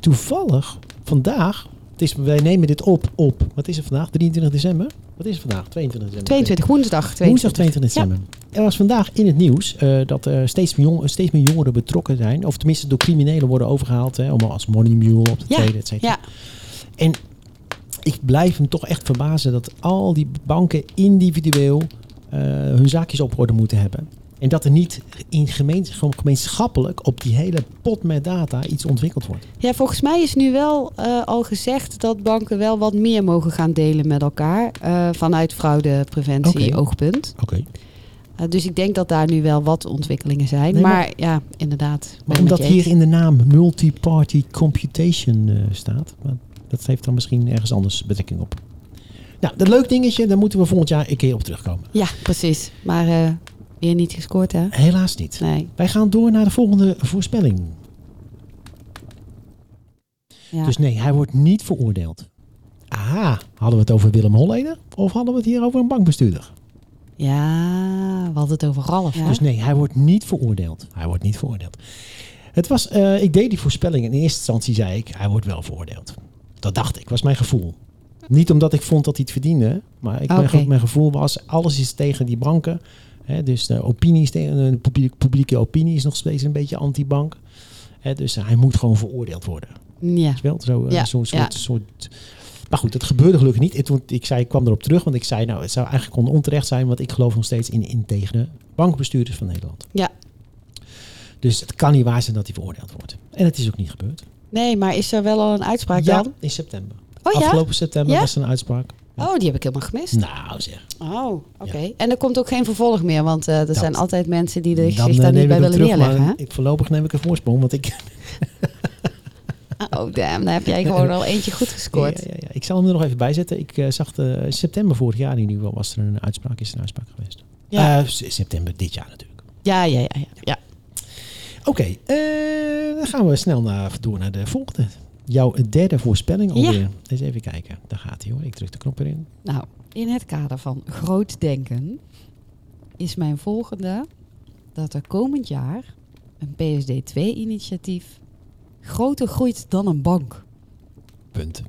[SPEAKER 3] toevallig vandaag, het is, wij nemen dit op op, wat is het vandaag? 23 december? Wat is het vandaag? 22 december.
[SPEAKER 4] 22 woensdag. 22.
[SPEAKER 3] Woensdag 22 december. Er was vandaag in het nieuws eh, dat er steeds meer, jong- steeds meer jongeren betrokken zijn. Of tenminste door criminelen worden overgehaald. Hè, om als money mule op de
[SPEAKER 4] Ja,
[SPEAKER 3] tweede, et cetera.
[SPEAKER 4] Ja,
[SPEAKER 3] En ik blijf hem toch echt verbazen dat al die banken individueel eh, hun zaakjes op orde moeten hebben. En dat er niet in gemeens, gewoon gemeenschappelijk op die hele pot met data iets ontwikkeld wordt.
[SPEAKER 4] Ja, volgens mij is nu wel eh, al gezegd dat banken wel wat meer mogen gaan delen met elkaar. eh, vanuit fraudepreventie
[SPEAKER 3] Oké.
[SPEAKER 4] oogpunt.
[SPEAKER 3] Oké.
[SPEAKER 4] Eh, dus ik denk dat daar nu wel wat ontwikkelingen zijn.
[SPEAKER 3] Nee,
[SPEAKER 4] maar,
[SPEAKER 3] maar-
[SPEAKER 4] ja, inderdaad.
[SPEAKER 3] Maar
[SPEAKER 4] ben ik
[SPEAKER 3] omdat
[SPEAKER 4] met je
[SPEAKER 3] hier in de naam multi-party computation eh, staat, maar dat heeft dan misschien ergens anders betrekking op. Nou, dat leuk dingetje, daar moeten we volgend jaar een keer op terugkomen.
[SPEAKER 4] eens. Ja, precies. Maar eh, weer niet gescoord, hè?
[SPEAKER 3] Helaas niet.
[SPEAKER 4] Nee.
[SPEAKER 3] Wij gaan door naar de volgende voorspelling.
[SPEAKER 4] Ja.
[SPEAKER 3] Dus nee, hij wordt niet veroordeeld. Aha, hadden we het over Willem Holleder of hadden we het hier over een bankbestuurder?
[SPEAKER 4] ja, we hadden het over Ralf. hè?
[SPEAKER 3] Dus nee, hij wordt niet veroordeeld. Hij wordt niet veroordeeld. Het was, eh, ik deed die voorspelling en in eerste instantie zei ik, hij wordt wel veroordeeld. Dat dacht ik, was mijn gevoel. Niet omdat ik vond dat hij het verdiende, maar ik, mijn
[SPEAKER 4] Oké.
[SPEAKER 3] ge- mijn gevoel was, alles is tegen die banken. Hè, dus de, opinie is tegen, de publiek- publieke opinie is nog steeds een beetje anti-bank. Hè, dus hij moet gewoon veroordeeld worden.
[SPEAKER 4] ja.
[SPEAKER 3] Wel, zo, eh,
[SPEAKER 4] Ja,
[SPEAKER 3] zo'n
[SPEAKER 4] ja.
[SPEAKER 3] soort, soort... Maar goed, dat gebeurde gelukkig niet. En toen, ik, zei, ik kwam erop terug, want ik zei, nou, het zou eigenlijk on- onterecht zijn, want ik geloof nog steeds in integere bankbestuurders van Nederland.
[SPEAKER 4] Ja.
[SPEAKER 3] Dus het kan niet waar zijn dat hij veroordeeld wordt. En het is ook niet gebeurd.
[SPEAKER 4] Nee, maar is er wel al een uitspraak
[SPEAKER 3] ja,
[SPEAKER 4] dan?
[SPEAKER 3] in september.
[SPEAKER 4] Oh ja?
[SPEAKER 3] Afgelopen september
[SPEAKER 4] Ja?
[SPEAKER 3] was er een uitspraak.
[SPEAKER 4] Oh, die heb ik helemaal gemist.
[SPEAKER 3] Nou zeg,
[SPEAKER 4] Oh, oké. En er komt ook geen vervolg meer, want eh, er
[SPEAKER 3] Dat-
[SPEAKER 4] zijn altijd mensen die de-
[SPEAKER 3] dan
[SPEAKER 4] zich
[SPEAKER 3] eh, neem
[SPEAKER 4] daar niet
[SPEAKER 3] ik
[SPEAKER 4] bij
[SPEAKER 3] hem
[SPEAKER 4] willen
[SPEAKER 3] terug,
[SPEAKER 4] neerleggen.
[SPEAKER 3] maar
[SPEAKER 4] hè?
[SPEAKER 3] ik, voorlopig neem ik een voorsprong, want
[SPEAKER 4] <laughs>
[SPEAKER 3] ik,
[SPEAKER 4] Oh, damn, daar heb
[SPEAKER 3] <laughs>
[SPEAKER 4] jij gewoon al eentje goed
[SPEAKER 3] ja,
[SPEAKER 4] gescoord.
[SPEAKER 3] ja, ja. ik zal hem er nog even bij zetten. Ik eh, zag eh, september vorig jaar in ieder geval was er een uitspraak, is er een uitspraak geweest.
[SPEAKER 4] Ja.
[SPEAKER 3] Ja. september dit jaar natuurlijk.
[SPEAKER 4] Ja, ja, ja. ja, ja.
[SPEAKER 3] Oké, eh, dan gaan we snel naar, door naar de volgende. Jouw derde voorspelling alweer. Eens even kijken. Daar gaat hij hoor. Ik druk de knop erin.
[SPEAKER 4] Nou, in het kader van groot denken is mijn volgende dat er komend jaar een PSD2-initiatief groter groeit dan een bank.
[SPEAKER 3] Punt.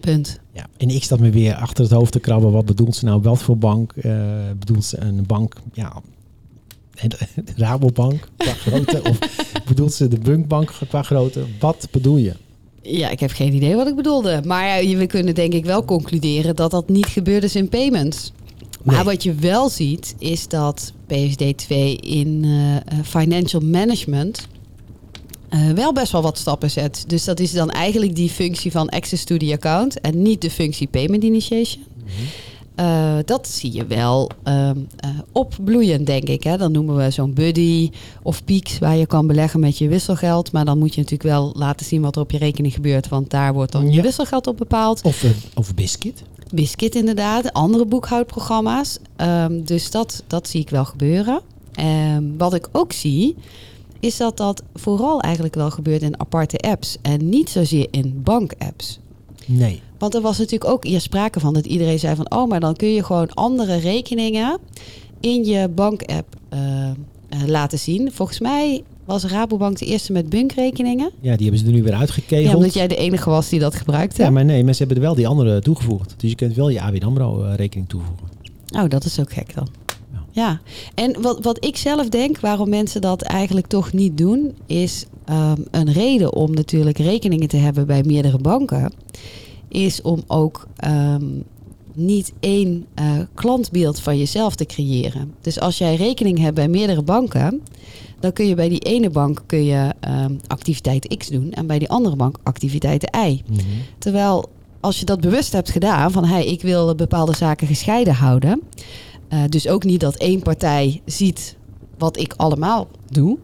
[SPEAKER 4] Punt.
[SPEAKER 3] Ja. En ik zat me weer achter het hoofd te krabben. Wat bedoelt ze nou? Wat voor bank? Eh, bedoelt ze een bank? Ja. <laughs> de Rabobank
[SPEAKER 4] <laughs>
[SPEAKER 3] qua grootte? of bedoelt ze de Bunkbank qua grootte? Wat bedoel je?
[SPEAKER 4] Ja, ik heb geen idee wat ik bedoelde. Maar eh, we kunnen denk ik wel concluderen dat dat niet gebeurd is in payments. Maar
[SPEAKER 3] Nee.
[SPEAKER 4] wat je wel ziet is dat PSD2 in eh, eh, financial management eh, wel best wel wat stappen zet. Dus dat is dan eigenlijk die functie van access to the account en niet de functie payment initiation. Eh, dat zie je wel ehm, eh, opbloeien, denk ik. Hè. Dan noemen we zo'n buddy of peaks waar je kan beleggen met je wisselgeld. Maar dan moet je natuurlijk wel laten zien wat er op je rekening gebeurt. Want daar wordt dan je
[SPEAKER 3] Ja.
[SPEAKER 4] wisselgeld op bepaald.
[SPEAKER 3] Of, eh, of Biscuit?
[SPEAKER 4] Biscuit inderdaad, andere boekhoudprogramma's. Ehm, dus dat, dat zie ik wel gebeuren. Ehm, wat ik ook zie, is dat dat vooral eigenlijk wel gebeurt in aparte apps en niet zozeer in bank-apps.
[SPEAKER 3] Nee.
[SPEAKER 4] Want er was natuurlijk ook hier sprake van dat iedereen zei van... oh, maar dan kun je gewoon andere rekeningen in je bank-app eh, eh, laten zien. Volgens mij was Rabobank de eerste met bunkrekeningen.
[SPEAKER 3] Ja, die hebben ze er nu weer uitgekegeld.
[SPEAKER 4] Ja, omdat jij de enige was die dat gebruikte.
[SPEAKER 3] Ja, maar nee, mensen hebben er wel die andere toegevoegd. Dus je kunt wel je ABN AMRO eh, rekening toevoegen.
[SPEAKER 4] Oh, dat is ook gek dan. Ja.
[SPEAKER 3] Ja.
[SPEAKER 4] En wat, wat ik zelf denk, waarom mensen dat eigenlijk toch niet doen, is ehm, een reden om natuurlijk rekeningen te hebben bij meerdere banken, is om ook ehm, niet één eh, klantbeeld van jezelf te creëren. Dus als jij rekening hebt bij meerdere banken, dan kun je bij die ene bank kun je ehm, activiteit X doen en bij die andere bank activiteit Y. Terwijl als je dat bewust hebt gedaan, van hey, ik wil bepaalde zaken gescheiden houden. eh, dus ook niet dat één partij ziet wat ik allemaal doe.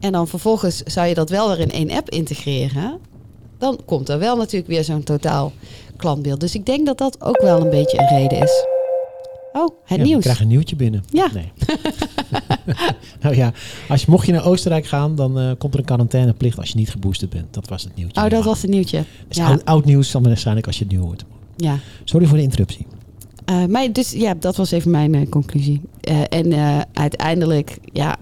[SPEAKER 4] En dan vervolgens zou je dat wel weer in één app integreren. Dan komt er wel natuurlijk weer zo'n totaal klantbeeld. Dus ik denk dat dat ook wel een beetje een reden is. Oh, het
[SPEAKER 3] Ja, Ik
[SPEAKER 4] nieuws.
[SPEAKER 3] krijg een nieuwtje binnen.
[SPEAKER 4] Ja.
[SPEAKER 3] Nee. <laughs> nou ja, als je, mocht je naar Oostenrijk gaan, dan eh, komt er een quarantaineplicht als je niet geboosterd bent. Dat was het nieuwtje.
[SPEAKER 4] Oh, dat
[SPEAKER 3] Ja.
[SPEAKER 4] was het nieuwtje.
[SPEAKER 3] Is
[SPEAKER 4] Ja,
[SPEAKER 3] oud, oud nieuws dan waarschijnlijk als je het nieuw hoort.
[SPEAKER 4] ja.
[SPEAKER 3] Sorry voor de interruptie.
[SPEAKER 4] Eh, maar dus ja, dat was even mijn eh, conclusie. Eh, en eh, uiteindelijk, ja,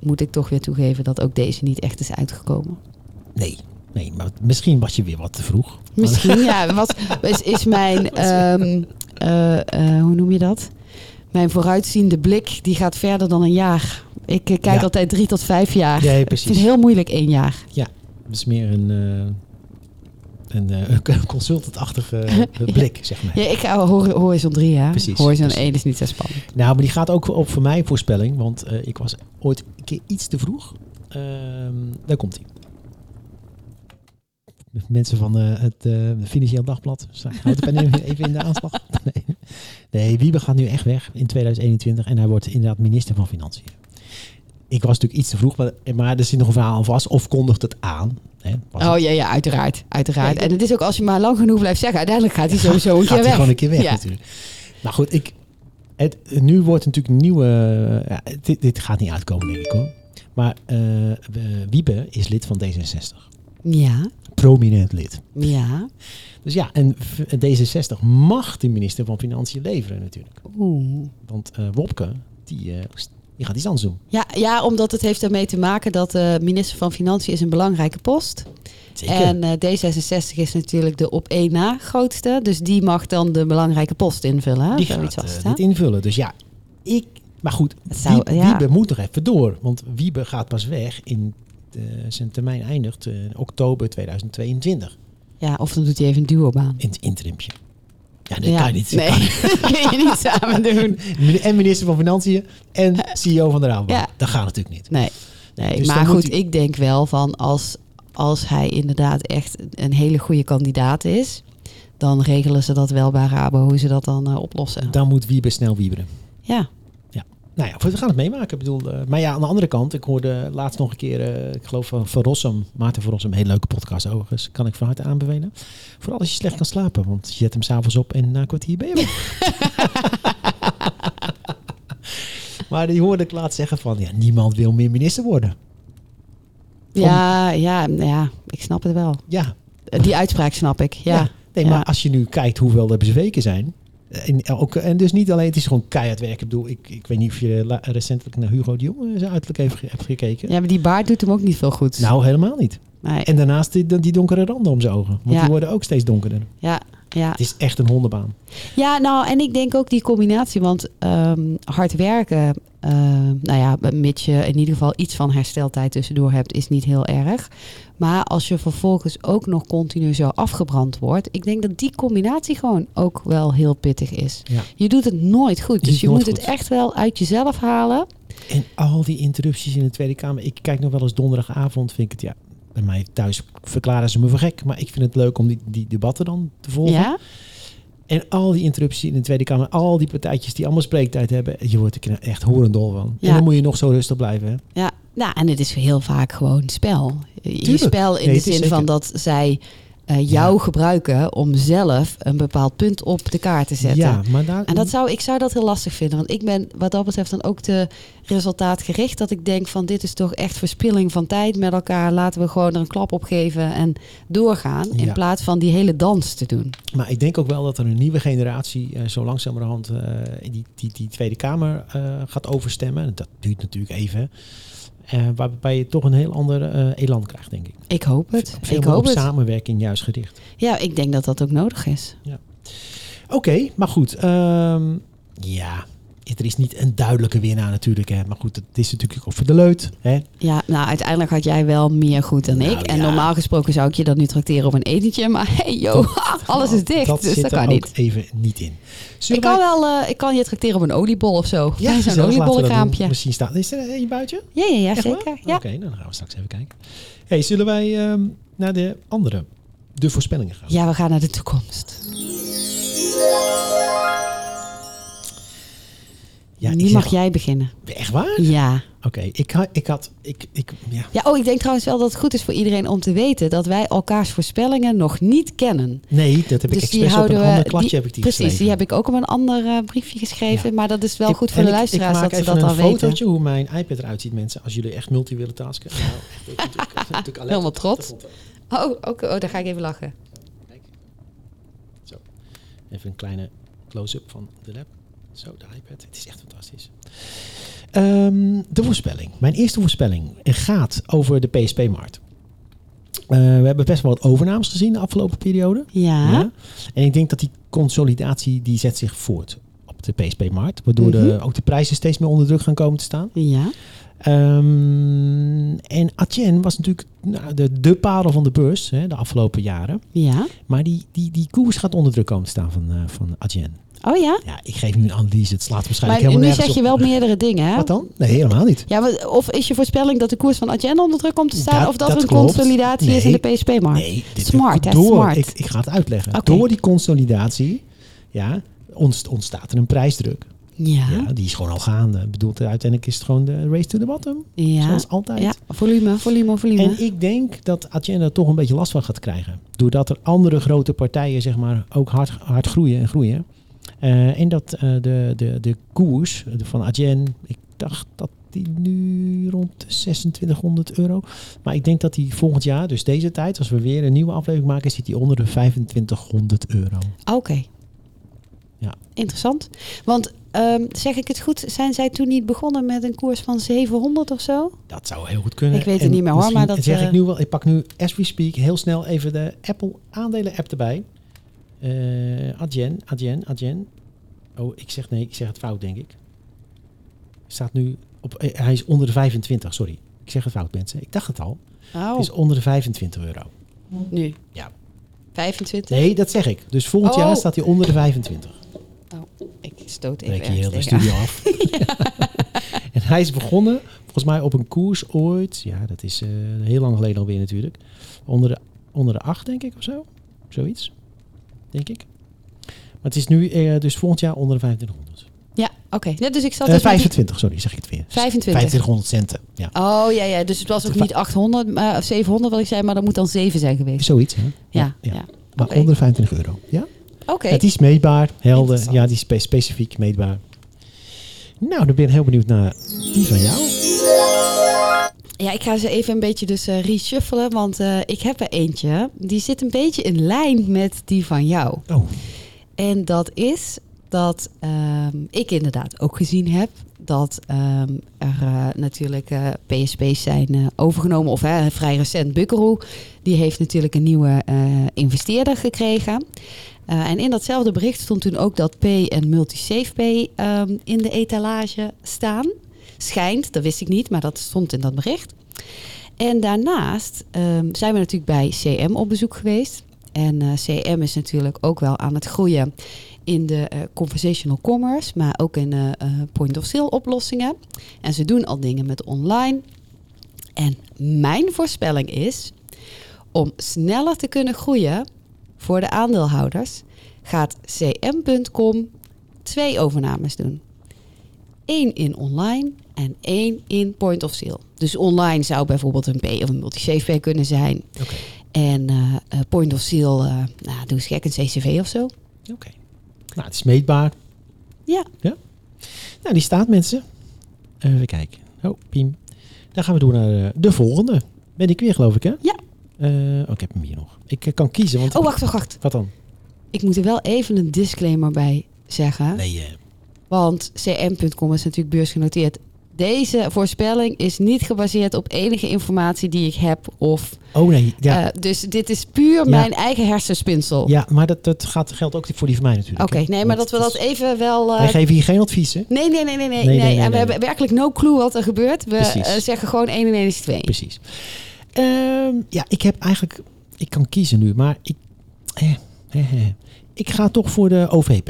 [SPEAKER 4] moet ik toch weer toegeven dat ook deze niet echt is uitgekomen.
[SPEAKER 3] Nee, nee, maar misschien was je weer wat te vroeg.
[SPEAKER 4] Misschien, ja, was, is, is mijn, ehm, eh, eh, hoe noem je dat? Mijn vooruitziende blik, die gaat verder dan een jaar. Ik eh, kijk
[SPEAKER 3] Ja.
[SPEAKER 4] altijd drie tot vijf jaar.
[SPEAKER 3] Nee,
[SPEAKER 4] Ik vind
[SPEAKER 3] precies.
[SPEAKER 4] het heel moeilijk één jaar.
[SPEAKER 3] Het is meer een, eh, een eh, consultantachtige
[SPEAKER 4] <laughs>
[SPEAKER 3] eh, blik, zeg maar.
[SPEAKER 4] Ja, ik hou hor- horizon drie jaar.
[SPEAKER 3] Precies,
[SPEAKER 4] horizon
[SPEAKER 3] precies.
[SPEAKER 4] één is niet zo spannend.
[SPEAKER 3] Nou, maar die gaat ook op voor mij voorspelling, want eh, ik was ooit een keer iets te vroeg. Ehm, daar komt hij. Mensen van eh, het eh, Financieel Dagblad. dus Sta- Houdt de pen even in de aanslag? <laughs> Nee. nee, Wiebe gaat nu echt weg in 2021 en hij wordt inderdaad minister van Financiën. Ik was natuurlijk iets te vroeg, maar, maar er zit nog een verhaal aan vast. Of kondigt het aan. Hè? Was
[SPEAKER 4] Oh ja, ja, uiteraard. uiteraard.
[SPEAKER 3] Ja,
[SPEAKER 4] en het is ook als je maar lang genoeg blijft zeggen, uiteindelijk gaat hij sowieso
[SPEAKER 3] gaat
[SPEAKER 4] een keer
[SPEAKER 3] hij
[SPEAKER 4] weg.
[SPEAKER 3] gewoon een keer weg
[SPEAKER 4] Ja.
[SPEAKER 3] natuurlijk. Maar goed, ik, het, nu wordt natuurlijk een nieuwe... eh, ja, dit, dit gaat niet uitkomen, denk ik hoor. Maar eh, eh, Wiebe is lid van D66.
[SPEAKER 4] Ja,
[SPEAKER 3] Prominent lid.
[SPEAKER 4] ja.
[SPEAKER 3] Dus ja, en v- D66 mag de minister van Financiën leveren natuurlijk.
[SPEAKER 4] Oeh.
[SPEAKER 3] Want eh, Wopke, die, eh, die gaat iets anders doen.
[SPEAKER 4] Ja, ja, omdat het heeft ermee te maken dat de minister van Financiën is een belangrijke post. En eh, D66 is natuurlijk de op één na grootste. Dus die mag dan de belangrijke post invullen. hè?
[SPEAKER 3] die
[SPEAKER 4] nou, Zoiets
[SPEAKER 3] gaat
[SPEAKER 4] was
[SPEAKER 3] eh,
[SPEAKER 4] het, hè?
[SPEAKER 3] dit invullen. Dus ja, ik... Maar goed,
[SPEAKER 4] Het zou-
[SPEAKER 3] Wiebe,
[SPEAKER 4] ja.
[SPEAKER 3] Wiebe moet toch even door. Want Wiebe gaat pas weg in... eh, zijn termijn eindigt eh, in oktober 2022.
[SPEAKER 4] Ja, of dan doet hij even een duobaan.
[SPEAKER 3] In het interimpje. Ja, dat
[SPEAKER 4] ja.
[SPEAKER 3] kan je niet.
[SPEAKER 4] Nee, <laughs> kun je niet samen doen.
[SPEAKER 3] En minister van Financiën
[SPEAKER 4] <laughs>
[SPEAKER 3] en CEO van de Rabobank.
[SPEAKER 4] Ja.
[SPEAKER 3] Dat gaat natuurlijk niet.
[SPEAKER 4] Nee, nee
[SPEAKER 3] Dus dan
[SPEAKER 4] maar
[SPEAKER 3] moet
[SPEAKER 4] goed,
[SPEAKER 3] hij-
[SPEAKER 4] ik denk wel van als, als hij inderdaad echt een hele goede kandidaat is... dan regelen ze dat wel bij Rabo, hoe ze dat dan eh, oplossen.
[SPEAKER 3] Dan moet Wiebe snel wieberen.
[SPEAKER 4] Ja,
[SPEAKER 3] Nou ja, we gaan het meemaken. Ik bedoel, eh, maar ja, aan de andere kant, ik hoorde laatst nog een keer, eh, ik geloof van Van Rossum, Maarten van Rossum, een hele leuke podcast overigens, kan ik van harte aanbevelen. Vooral als je slecht kan slapen, want je zet hem s'avonds op en na een kwartier ben je weg. <laughs>
[SPEAKER 4] <laughs>
[SPEAKER 3] maar die hoorde ik laatst zeggen van, ja, niemand wil meer minister worden.
[SPEAKER 4] ja, ja, nou ja, ik snap het wel.
[SPEAKER 3] Ja,
[SPEAKER 4] Eh, Die uitspraak snap ik, ja.
[SPEAKER 3] Nee,
[SPEAKER 4] Ja.
[SPEAKER 3] maar als je nu kijkt hoeveel er bezweken zijn. En, ook, en dus niet alleen, het is gewoon keihard werk. Ik bedoel, ik, ik weet niet of je la- recentelijk naar Hugo de Jonge zijn uiterlijk heeft, ge- hebt gekeken.
[SPEAKER 4] Ja, maar die baard doet hem ook niet veel goed.
[SPEAKER 3] Nou, helemaal niet.
[SPEAKER 4] Nee.
[SPEAKER 3] En daarnaast die, die donkere randen om zijn ogen. Want
[SPEAKER 4] Ja.
[SPEAKER 3] die worden ook steeds donkerder.
[SPEAKER 4] Ja, ja.
[SPEAKER 3] Het is echt een hondenbaan.
[SPEAKER 4] ja, nou, en ik denk ook die combinatie. Want ehm, hard werken, ehm, nou ja, mits je in ieder geval iets van hersteltijd tussendoor hebt, is niet heel erg. Maar als je vervolgens ook nog continu zo afgebrand wordt, ik denk dat die combinatie gewoon ook wel heel pittig is.
[SPEAKER 3] Ja.
[SPEAKER 4] Je doet het nooit goed.
[SPEAKER 3] Je
[SPEAKER 4] Dus je
[SPEAKER 3] doet
[SPEAKER 4] moet
[SPEAKER 3] nooit
[SPEAKER 4] het
[SPEAKER 3] goed.
[SPEAKER 4] echt wel uit jezelf halen.
[SPEAKER 3] En al die interrupties in de Tweede Kamer. Ik kijk nog wel eens donderdagavond, vind ik het, ja, bij mij thuis verklaren ze me voor gek. Maar ik vind het leuk om die, die debatten dan te volgen.
[SPEAKER 4] Ja?
[SPEAKER 3] En al die interrupties in de Tweede Kamer, al die partijtjes die allemaal spreektijd hebben, je wordt er echt horendol van.
[SPEAKER 4] Ja.
[SPEAKER 3] En dan moet je nog zo rustig blijven. Hè?
[SPEAKER 4] Ja, nou, en het is heel vaak gewoon spel. Je
[SPEAKER 3] Tuurlijk.
[SPEAKER 4] spel in
[SPEAKER 3] Nee,
[SPEAKER 4] de
[SPEAKER 3] het is
[SPEAKER 4] zin
[SPEAKER 3] zeker.
[SPEAKER 4] van dat zij eh, jou
[SPEAKER 3] Ja.
[SPEAKER 4] gebruiken om zelf een bepaald punt op de kaart te zetten.
[SPEAKER 3] Ja, maar daar,
[SPEAKER 4] En dat zou, ik zou dat heel lastig vinden. Want ik ben wat dat betreft dan ook te resultaatgericht. Dat ik denk van dit is toch echt verspilling van tijd met elkaar. Laten we gewoon er een klap op geven en doorgaan.
[SPEAKER 3] Ja.
[SPEAKER 4] In plaats van die hele dans te doen.
[SPEAKER 3] maar ik denk ook wel dat er een nieuwe generatie eh, zo langzamerhand eh, die, die, die Tweede Kamer eh, gaat overstemmen. Dat duurt natuurlijk even. Eh, waarbij je toch een heel ander eh, elan krijgt, denk ik.
[SPEAKER 4] Ik hoop het.
[SPEAKER 3] Veel
[SPEAKER 4] ik
[SPEAKER 3] meer
[SPEAKER 4] hoop
[SPEAKER 3] op
[SPEAKER 4] het.
[SPEAKER 3] samenwerking juist gericht.
[SPEAKER 4] Ja, ik denk dat dat ook nodig is.
[SPEAKER 3] Oké, maar goed. ehm, ja, er is niet een duidelijke winnaar natuurlijk. Hè. Maar goed, het is natuurlijk ook voor de leut. Hè.
[SPEAKER 4] Ja, nou uiteindelijk had jij wel meer goed dan
[SPEAKER 3] Nou,
[SPEAKER 4] ik. En
[SPEAKER 3] ja.
[SPEAKER 4] normaal gesproken zou ik je dan nu tracteren op een etentje. Maar hey yo, <laughs> alles is dicht.
[SPEAKER 3] Oh, dat
[SPEAKER 4] dus
[SPEAKER 3] zit
[SPEAKER 4] dat
[SPEAKER 3] er
[SPEAKER 4] kan
[SPEAKER 3] ook
[SPEAKER 4] niet.
[SPEAKER 3] even niet in.
[SPEAKER 4] Ik
[SPEAKER 3] Zullen
[SPEAKER 4] kan
[SPEAKER 3] wij-
[SPEAKER 4] wel, eh, ik kan je tracteren op een oliebol of zo. Ja,
[SPEAKER 3] gezellig,
[SPEAKER 4] <laughs> zo'n
[SPEAKER 3] laten we dat doen.
[SPEAKER 4] oliebollenkraampje.
[SPEAKER 3] Misschien staat. Is er een buitje?
[SPEAKER 4] Ja, ja, ja,
[SPEAKER 3] Echt waar?
[SPEAKER 4] zeker. Ja.
[SPEAKER 3] Oké, nou, dan gaan we straks even kijken. Hey, zullen wij ehm, naar de andere, de voorspellingen gaan?
[SPEAKER 4] ja, we gaan naar de toekomst.
[SPEAKER 3] Ja, ik
[SPEAKER 4] nu
[SPEAKER 3] zeg-
[SPEAKER 4] mag jij beginnen.
[SPEAKER 3] Echt waar?
[SPEAKER 4] Ja,
[SPEAKER 3] ik, ha- ik had... Ik, ik, ja.
[SPEAKER 4] Ja, oh, ik denk trouwens wel dat het goed is voor iedereen om te weten dat wij elkaars voorspellingen nog niet kennen.
[SPEAKER 3] Nee, dat heb
[SPEAKER 4] Dus
[SPEAKER 3] ik
[SPEAKER 4] die
[SPEAKER 3] expres op een
[SPEAKER 4] houden we-
[SPEAKER 3] ander kladje
[SPEAKER 4] die-
[SPEAKER 3] heb ik die
[SPEAKER 4] Precies,
[SPEAKER 3] geschreven.
[SPEAKER 4] die heb ik ook op een ander eh, briefje geschreven. Maar dat is wel
[SPEAKER 3] Ik-
[SPEAKER 4] goed voor
[SPEAKER 3] en
[SPEAKER 4] de
[SPEAKER 3] ik-
[SPEAKER 4] luisteraars dat ze dat
[SPEAKER 3] Ik maak
[SPEAKER 4] al
[SPEAKER 3] even een
[SPEAKER 4] weten.
[SPEAKER 3] fotootje hoe mijn iPad eruit ziet, mensen. Als jullie echt multi willen tasken. Nou, echt, ik doe- ik
[SPEAKER 4] <laughs>
[SPEAKER 3] doe natuurlijk alleen
[SPEAKER 4] Helemaal
[SPEAKER 3] op de
[SPEAKER 4] trots.
[SPEAKER 3] achtergrond.
[SPEAKER 4] Oh, ook- oh, daar ga ik even lachen.
[SPEAKER 3] Zo. Even een kleine close-up van de lab. Zo, de iPad. Het is echt fantastisch. Ehm, de voorspelling. Mijn eerste voorspelling gaat over de PSP-markt. Eh, we hebben best wel wat overnames gezien de afgelopen periode.
[SPEAKER 4] Ja.
[SPEAKER 3] Ja. En ik denk dat die consolidatie die zet zich voort op de PSP-markt. Waardoor de,
[SPEAKER 4] Mhm.
[SPEAKER 3] ook de prijzen steeds meer onder druk gaan komen te staan.
[SPEAKER 4] Ja.
[SPEAKER 3] Ehm, en Atjen was natuurlijk nou, de, de parel van de beurs hè, de afgelopen jaren.
[SPEAKER 4] Ja.
[SPEAKER 3] Maar die, die, die koers gaat onder druk komen te staan van, eh van Adyen.
[SPEAKER 4] Oh ja.
[SPEAKER 3] Ja, ik geef nu een analyse. Het slaat waarschijnlijk
[SPEAKER 4] Maar
[SPEAKER 3] helemaal
[SPEAKER 4] nu
[SPEAKER 3] nergens
[SPEAKER 4] zeg je
[SPEAKER 3] op.
[SPEAKER 4] wel meerdere dingen, hè?
[SPEAKER 3] Wat dan? Nee, helemaal niet.
[SPEAKER 4] Ja, maar of is je voorspelling dat de koers van Adyen onder druk komt te staan?
[SPEAKER 3] Dat-
[SPEAKER 4] of dat,
[SPEAKER 3] dat
[SPEAKER 4] er een
[SPEAKER 3] klopt.
[SPEAKER 4] consolidatie is in de
[SPEAKER 3] Nee.
[SPEAKER 4] PSP-markt?
[SPEAKER 3] Nee, dit
[SPEAKER 4] Smart, hè?
[SPEAKER 3] door,
[SPEAKER 4] Smart.
[SPEAKER 3] Ik, ik ga het uitleggen.
[SPEAKER 4] Oké.
[SPEAKER 3] Door die consolidatie ja, ontst- ontstaat er een prijsdruk. Ja,
[SPEAKER 4] Ja. Ja.
[SPEAKER 3] die is gewoon al gaande. Ik bedoel, uiteindelijk is het gewoon de race to the bottom.
[SPEAKER 4] Ja.
[SPEAKER 3] Zoals altijd.
[SPEAKER 4] Volume, volume, volume.
[SPEAKER 3] En ik denk dat Adyen er toch een beetje last van gaat krijgen. Doordat er andere grote partijen zeg maar, ook hard, hard groeien en groeien. Eh, en dat eh, de, de, de koers van Adyen, ik dacht dat die nu rond de 2600 euro. Maar ik denk dat die volgend jaar, dus deze tijd, als we weer een nieuwe aflevering maken, zit die onder de 2500 euro.
[SPEAKER 4] Ah, Oké.
[SPEAKER 3] Ja.
[SPEAKER 4] Interessant. Want ehm, zeg ik het goed, zijn zij toen niet begonnen met een koers van 700 of zo?
[SPEAKER 3] Dat zou heel goed kunnen.
[SPEAKER 4] Ik weet het
[SPEAKER 3] En
[SPEAKER 4] niet meer hoor,
[SPEAKER 3] misschien
[SPEAKER 4] maar dat,
[SPEAKER 3] zeg
[SPEAKER 4] eh,
[SPEAKER 3] ik nu wel. Ik pak nu, as we speak, heel snel even de Apple aandelen app erbij. Eh Adyen, Adyen, Adyen. Oh, ik zeg nee, ik zeg het fout denk ik. Staat nu op, eh, hij is onder de 25, sorry. Ik zeg het fout mensen, ik dacht het al.
[SPEAKER 4] Oh,
[SPEAKER 3] Het is onder de 25 euro.
[SPEAKER 4] nu.
[SPEAKER 3] Ja.
[SPEAKER 4] 25.
[SPEAKER 3] Nee, dat zeg ik. Dus volgend
[SPEAKER 4] Oh.
[SPEAKER 3] jaar staat hij onder de 25.
[SPEAKER 4] Ik stoot even
[SPEAKER 3] breek je heel de
[SPEAKER 4] ergens tegenaan.
[SPEAKER 3] studio
[SPEAKER 4] <laughs>
[SPEAKER 3] af. <laughs> en hij is begonnen, volgens mij op een koers ooit. Ja, dat is eh, heel lang geleden alweer natuurlijk. Onder de, onder de acht, denk ik, of zo. Zoiets, denk ik. Maar het is nu eh, dus volgend jaar onder de 2500.
[SPEAKER 4] Ja, oké. Ja, dus ik zat
[SPEAKER 3] Eh,
[SPEAKER 4] dus met die-
[SPEAKER 3] 25, sorry, zeg ik het weer.
[SPEAKER 4] 25.
[SPEAKER 3] 2500 centen, ja.
[SPEAKER 4] Oh ja, ja, dus het was ook niet 800 maar- of 700 wat ik zei, maar dat moet dan 7 zijn geweest.
[SPEAKER 3] Zoiets, hè?
[SPEAKER 4] Ja, ja.
[SPEAKER 3] ja.
[SPEAKER 4] Oké.
[SPEAKER 3] Maar onder de 25 euro, ja?
[SPEAKER 4] Oké.
[SPEAKER 3] Het is meetbaar, helder.
[SPEAKER 4] Interessant.
[SPEAKER 3] Ja, die is spe- specifiek meetbaar. Nou, dan ben ik heel benieuwd naar die van jou.
[SPEAKER 4] Ja, ik ga ze even een beetje dus eh, reshuffelen, want eh, ik heb er eentje. Die zit een beetje in lijn met die van jou.
[SPEAKER 3] Oh,
[SPEAKER 4] En dat is dat ehm, ik inderdaad ook gezien heb dat ehm, er eh, natuurlijk eh, PSP's zijn eh, overgenomen. Of hè, vrij recent Bukkeroe. Die heeft natuurlijk een nieuwe eh, investeerder gekregen. Eh, en in datzelfde bericht stond toen ook dat P en Multisafe P ehm, in de etalage staan. Schijnt, dat wist ik niet, maar dat stond in dat bericht. En daarnaast ehm, zijn we natuurlijk bij CM op bezoek geweest. En eh, CM is natuurlijk ook wel aan het groeien in de eh, conversational commerce, maar ook in eh, eh, point-of-sale oplossingen. En ze doen al dingen met online. En mijn voorspelling is, om sneller te kunnen groeien voor de aandeelhouders, gaat cm.com twee overnames doen. Eén in online en één in point-of-sale. Dus online zou bijvoorbeeld een P of een multi-CFP kunnen zijn.
[SPEAKER 3] oké.
[SPEAKER 4] En eh, eh, Point of Seal, eh, nou, doe eens gek een CCV of zo.
[SPEAKER 3] Oké. Nou, het is meetbaar.
[SPEAKER 4] Ja.
[SPEAKER 3] Nou, die staat, mensen. Even kijken. Oh, piem. Dan gaan we door naar eh, de volgende. Ben ik weer, geloof ik, hè?
[SPEAKER 4] Ja.
[SPEAKER 3] Eh, oh, ik heb hem hier nog. Ik eh, kan kiezen, want...
[SPEAKER 4] Oh, wacht, wacht, wacht.
[SPEAKER 3] Wat dan?
[SPEAKER 4] Ik moet er wel even een disclaimer bij zeggen.
[SPEAKER 3] Nee, eh,
[SPEAKER 4] Want cm.com is natuurlijk beursgenoteerd. Deze voorspelling is niet gebaseerd op enige informatie die ik heb. Of,
[SPEAKER 3] oh nee, ja.
[SPEAKER 4] eh, dus dit is puur mijn eigen hersenspinsel.
[SPEAKER 3] ja, maar dat, dat gaat, geldt ook voor die van mij natuurlijk.
[SPEAKER 4] Oké,
[SPEAKER 3] hè?
[SPEAKER 4] nee, maar
[SPEAKER 3] Want
[SPEAKER 4] dat we dat
[SPEAKER 3] is-
[SPEAKER 4] even wel... eh,
[SPEAKER 3] Wij geven hier geen adviezen.
[SPEAKER 4] nee, nee, nee, nee, nee,
[SPEAKER 3] nee,
[SPEAKER 4] nee.
[SPEAKER 3] nee,
[SPEAKER 4] En we
[SPEAKER 3] nee.
[SPEAKER 4] hebben werkelijk no clue wat er gebeurt. We
[SPEAKER 3] Precies.
[SPEAKER 4] eh, zeggen gewoon 1 en 1 is 2.
[SPEAKER 3] Precies. Ehm, ja, ik heb eigenlijk... Ik kan kiezen nu, maar ik... eh, eh, eh. ik ga toch voor de OVP.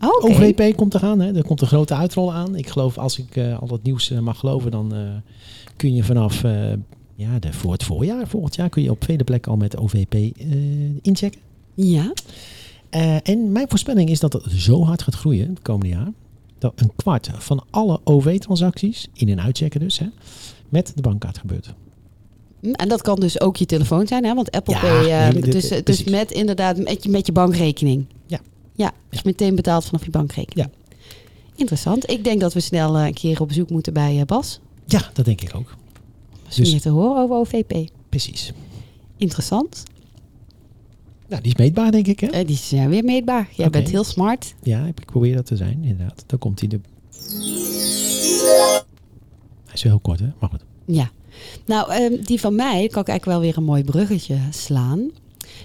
[SPEAKER 4] Oh, oké.
[SPEAKER 3] OVP komt eraan, hè? er komt een grote uitrol aan. Ik geloof, als ik eh, al dat nieuws eh, mag geloven, dan eh, kun je vanaf eh, ja, de, voor het voorjaar, volgend jaar, kun je op vele plekken al met OVP eh, inchecken.
[SPEAKER 4] Ja,
[SPEAKER 3] Eh, en mijn voorspelling is dat het zo hard gaat groeien het komende jaar, dat een kwart van alle OW-transacties, in- en uitchecken dus, hè, met de bankkaart gebeurt.
[SPEAKER 4] Hm, En dat kan dus ook je telefoon zijn, hè? want Apple
[SPEAKER 3] Ja,
[SPEAKER 4] Pay. eh,
[SPEAKER 3] hele- dit-
[SPEAKER 4] dus
[SPEAKER 3] eh,
[SPEAKER 4] dus
[SPEAKER 3] precies.
[SPEAKER 4] met inderdaad met je, met je bankrekening.
[SPEAKER 3] Ja.
[SPEAKER 4] Ja, dus meteen betaald vanaf je bankrekening. Ja. Interessant. Ik denk dat we snel eh, een keer op bezoek moeten bij eh, Bas.
[SPEAKER 3] Ja, dat denk ik ook.
[SPEAKER 4] Als
[SPEAKER 3] Dus-
[SPEAKER 4] meer te horen over OVP.
[SPEAKER 3] Precies.
[SPEAKER 4] Interessant.
[SPEAKER 3] Nou, die is meetbaar, denk ik, hè?
[SPEAKER 4] Eh, die zijn weer meetbaar. Jij
[SPEAKER 3] Oké.
[SPEAKER 4] bent heel smart.
[SPEAKER 3] Ja, ik probeer dat te zijn, inderdaad. Daar komt hij. De... Hij is wel heel kort, hè? Maar goed.
[SPEAKER 4] Ja. Nou, ehm, die van mij kan ik eigenlijk wel weer een mooi bruggetje slaan.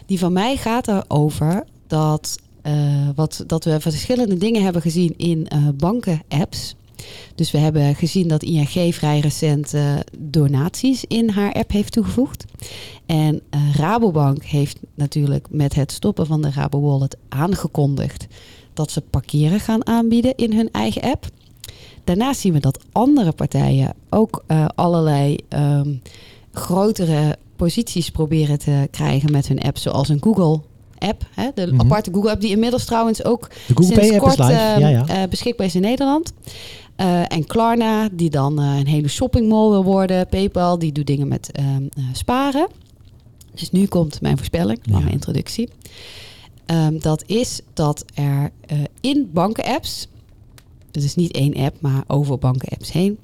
[SPEAKER 4] Die van mij gaat erover dat, eh, wat, dat we verschillende dingen hebben gezien in eh, banken-apps. Dus we hebben gezien dat ING vrij recent eh, donaties in haar app heeft toegevoegd. En eh, Rabobank heeft natuurlijk met het stoppen van de Rabo Wallet aangekondigd dat ze parkeren gaan aanbieden in hun eigen app. Daarnaast zien we dat andere partijen ook eh, allerlei ehm, grotere posities proberen te krijgen met hun app, zoals een Google. App, hè, de
[SPEAKER 3] Mhm.
[SPEAKER 4] aparte Google app die inmiddels trouwens ook
[SPEAKER 3] De Google
[SPEAKER 4] sinds
[SPEAKER 3] Pay app is
[SPEAKER 4] kort
[SPEAKER 3] live.
[SPEAKER 4] ehm,
[SPEAKER 3] ja, ja.
[SPEAKER 4] eh, beschikbaar is in Nederland. Eh, en Klarna, die dan eh, een hele shoppingmall wil worden. PayPal, die doet dingen met ehm, eh, sparen. Dus nu komt mijn voorspelling, lange
[SPEAKER 3] Ja.
[SPEAKER 4] introductie. Ehm, dat is dat er eh, in banken-apps, het is niet één app, maar over banken-apps heen,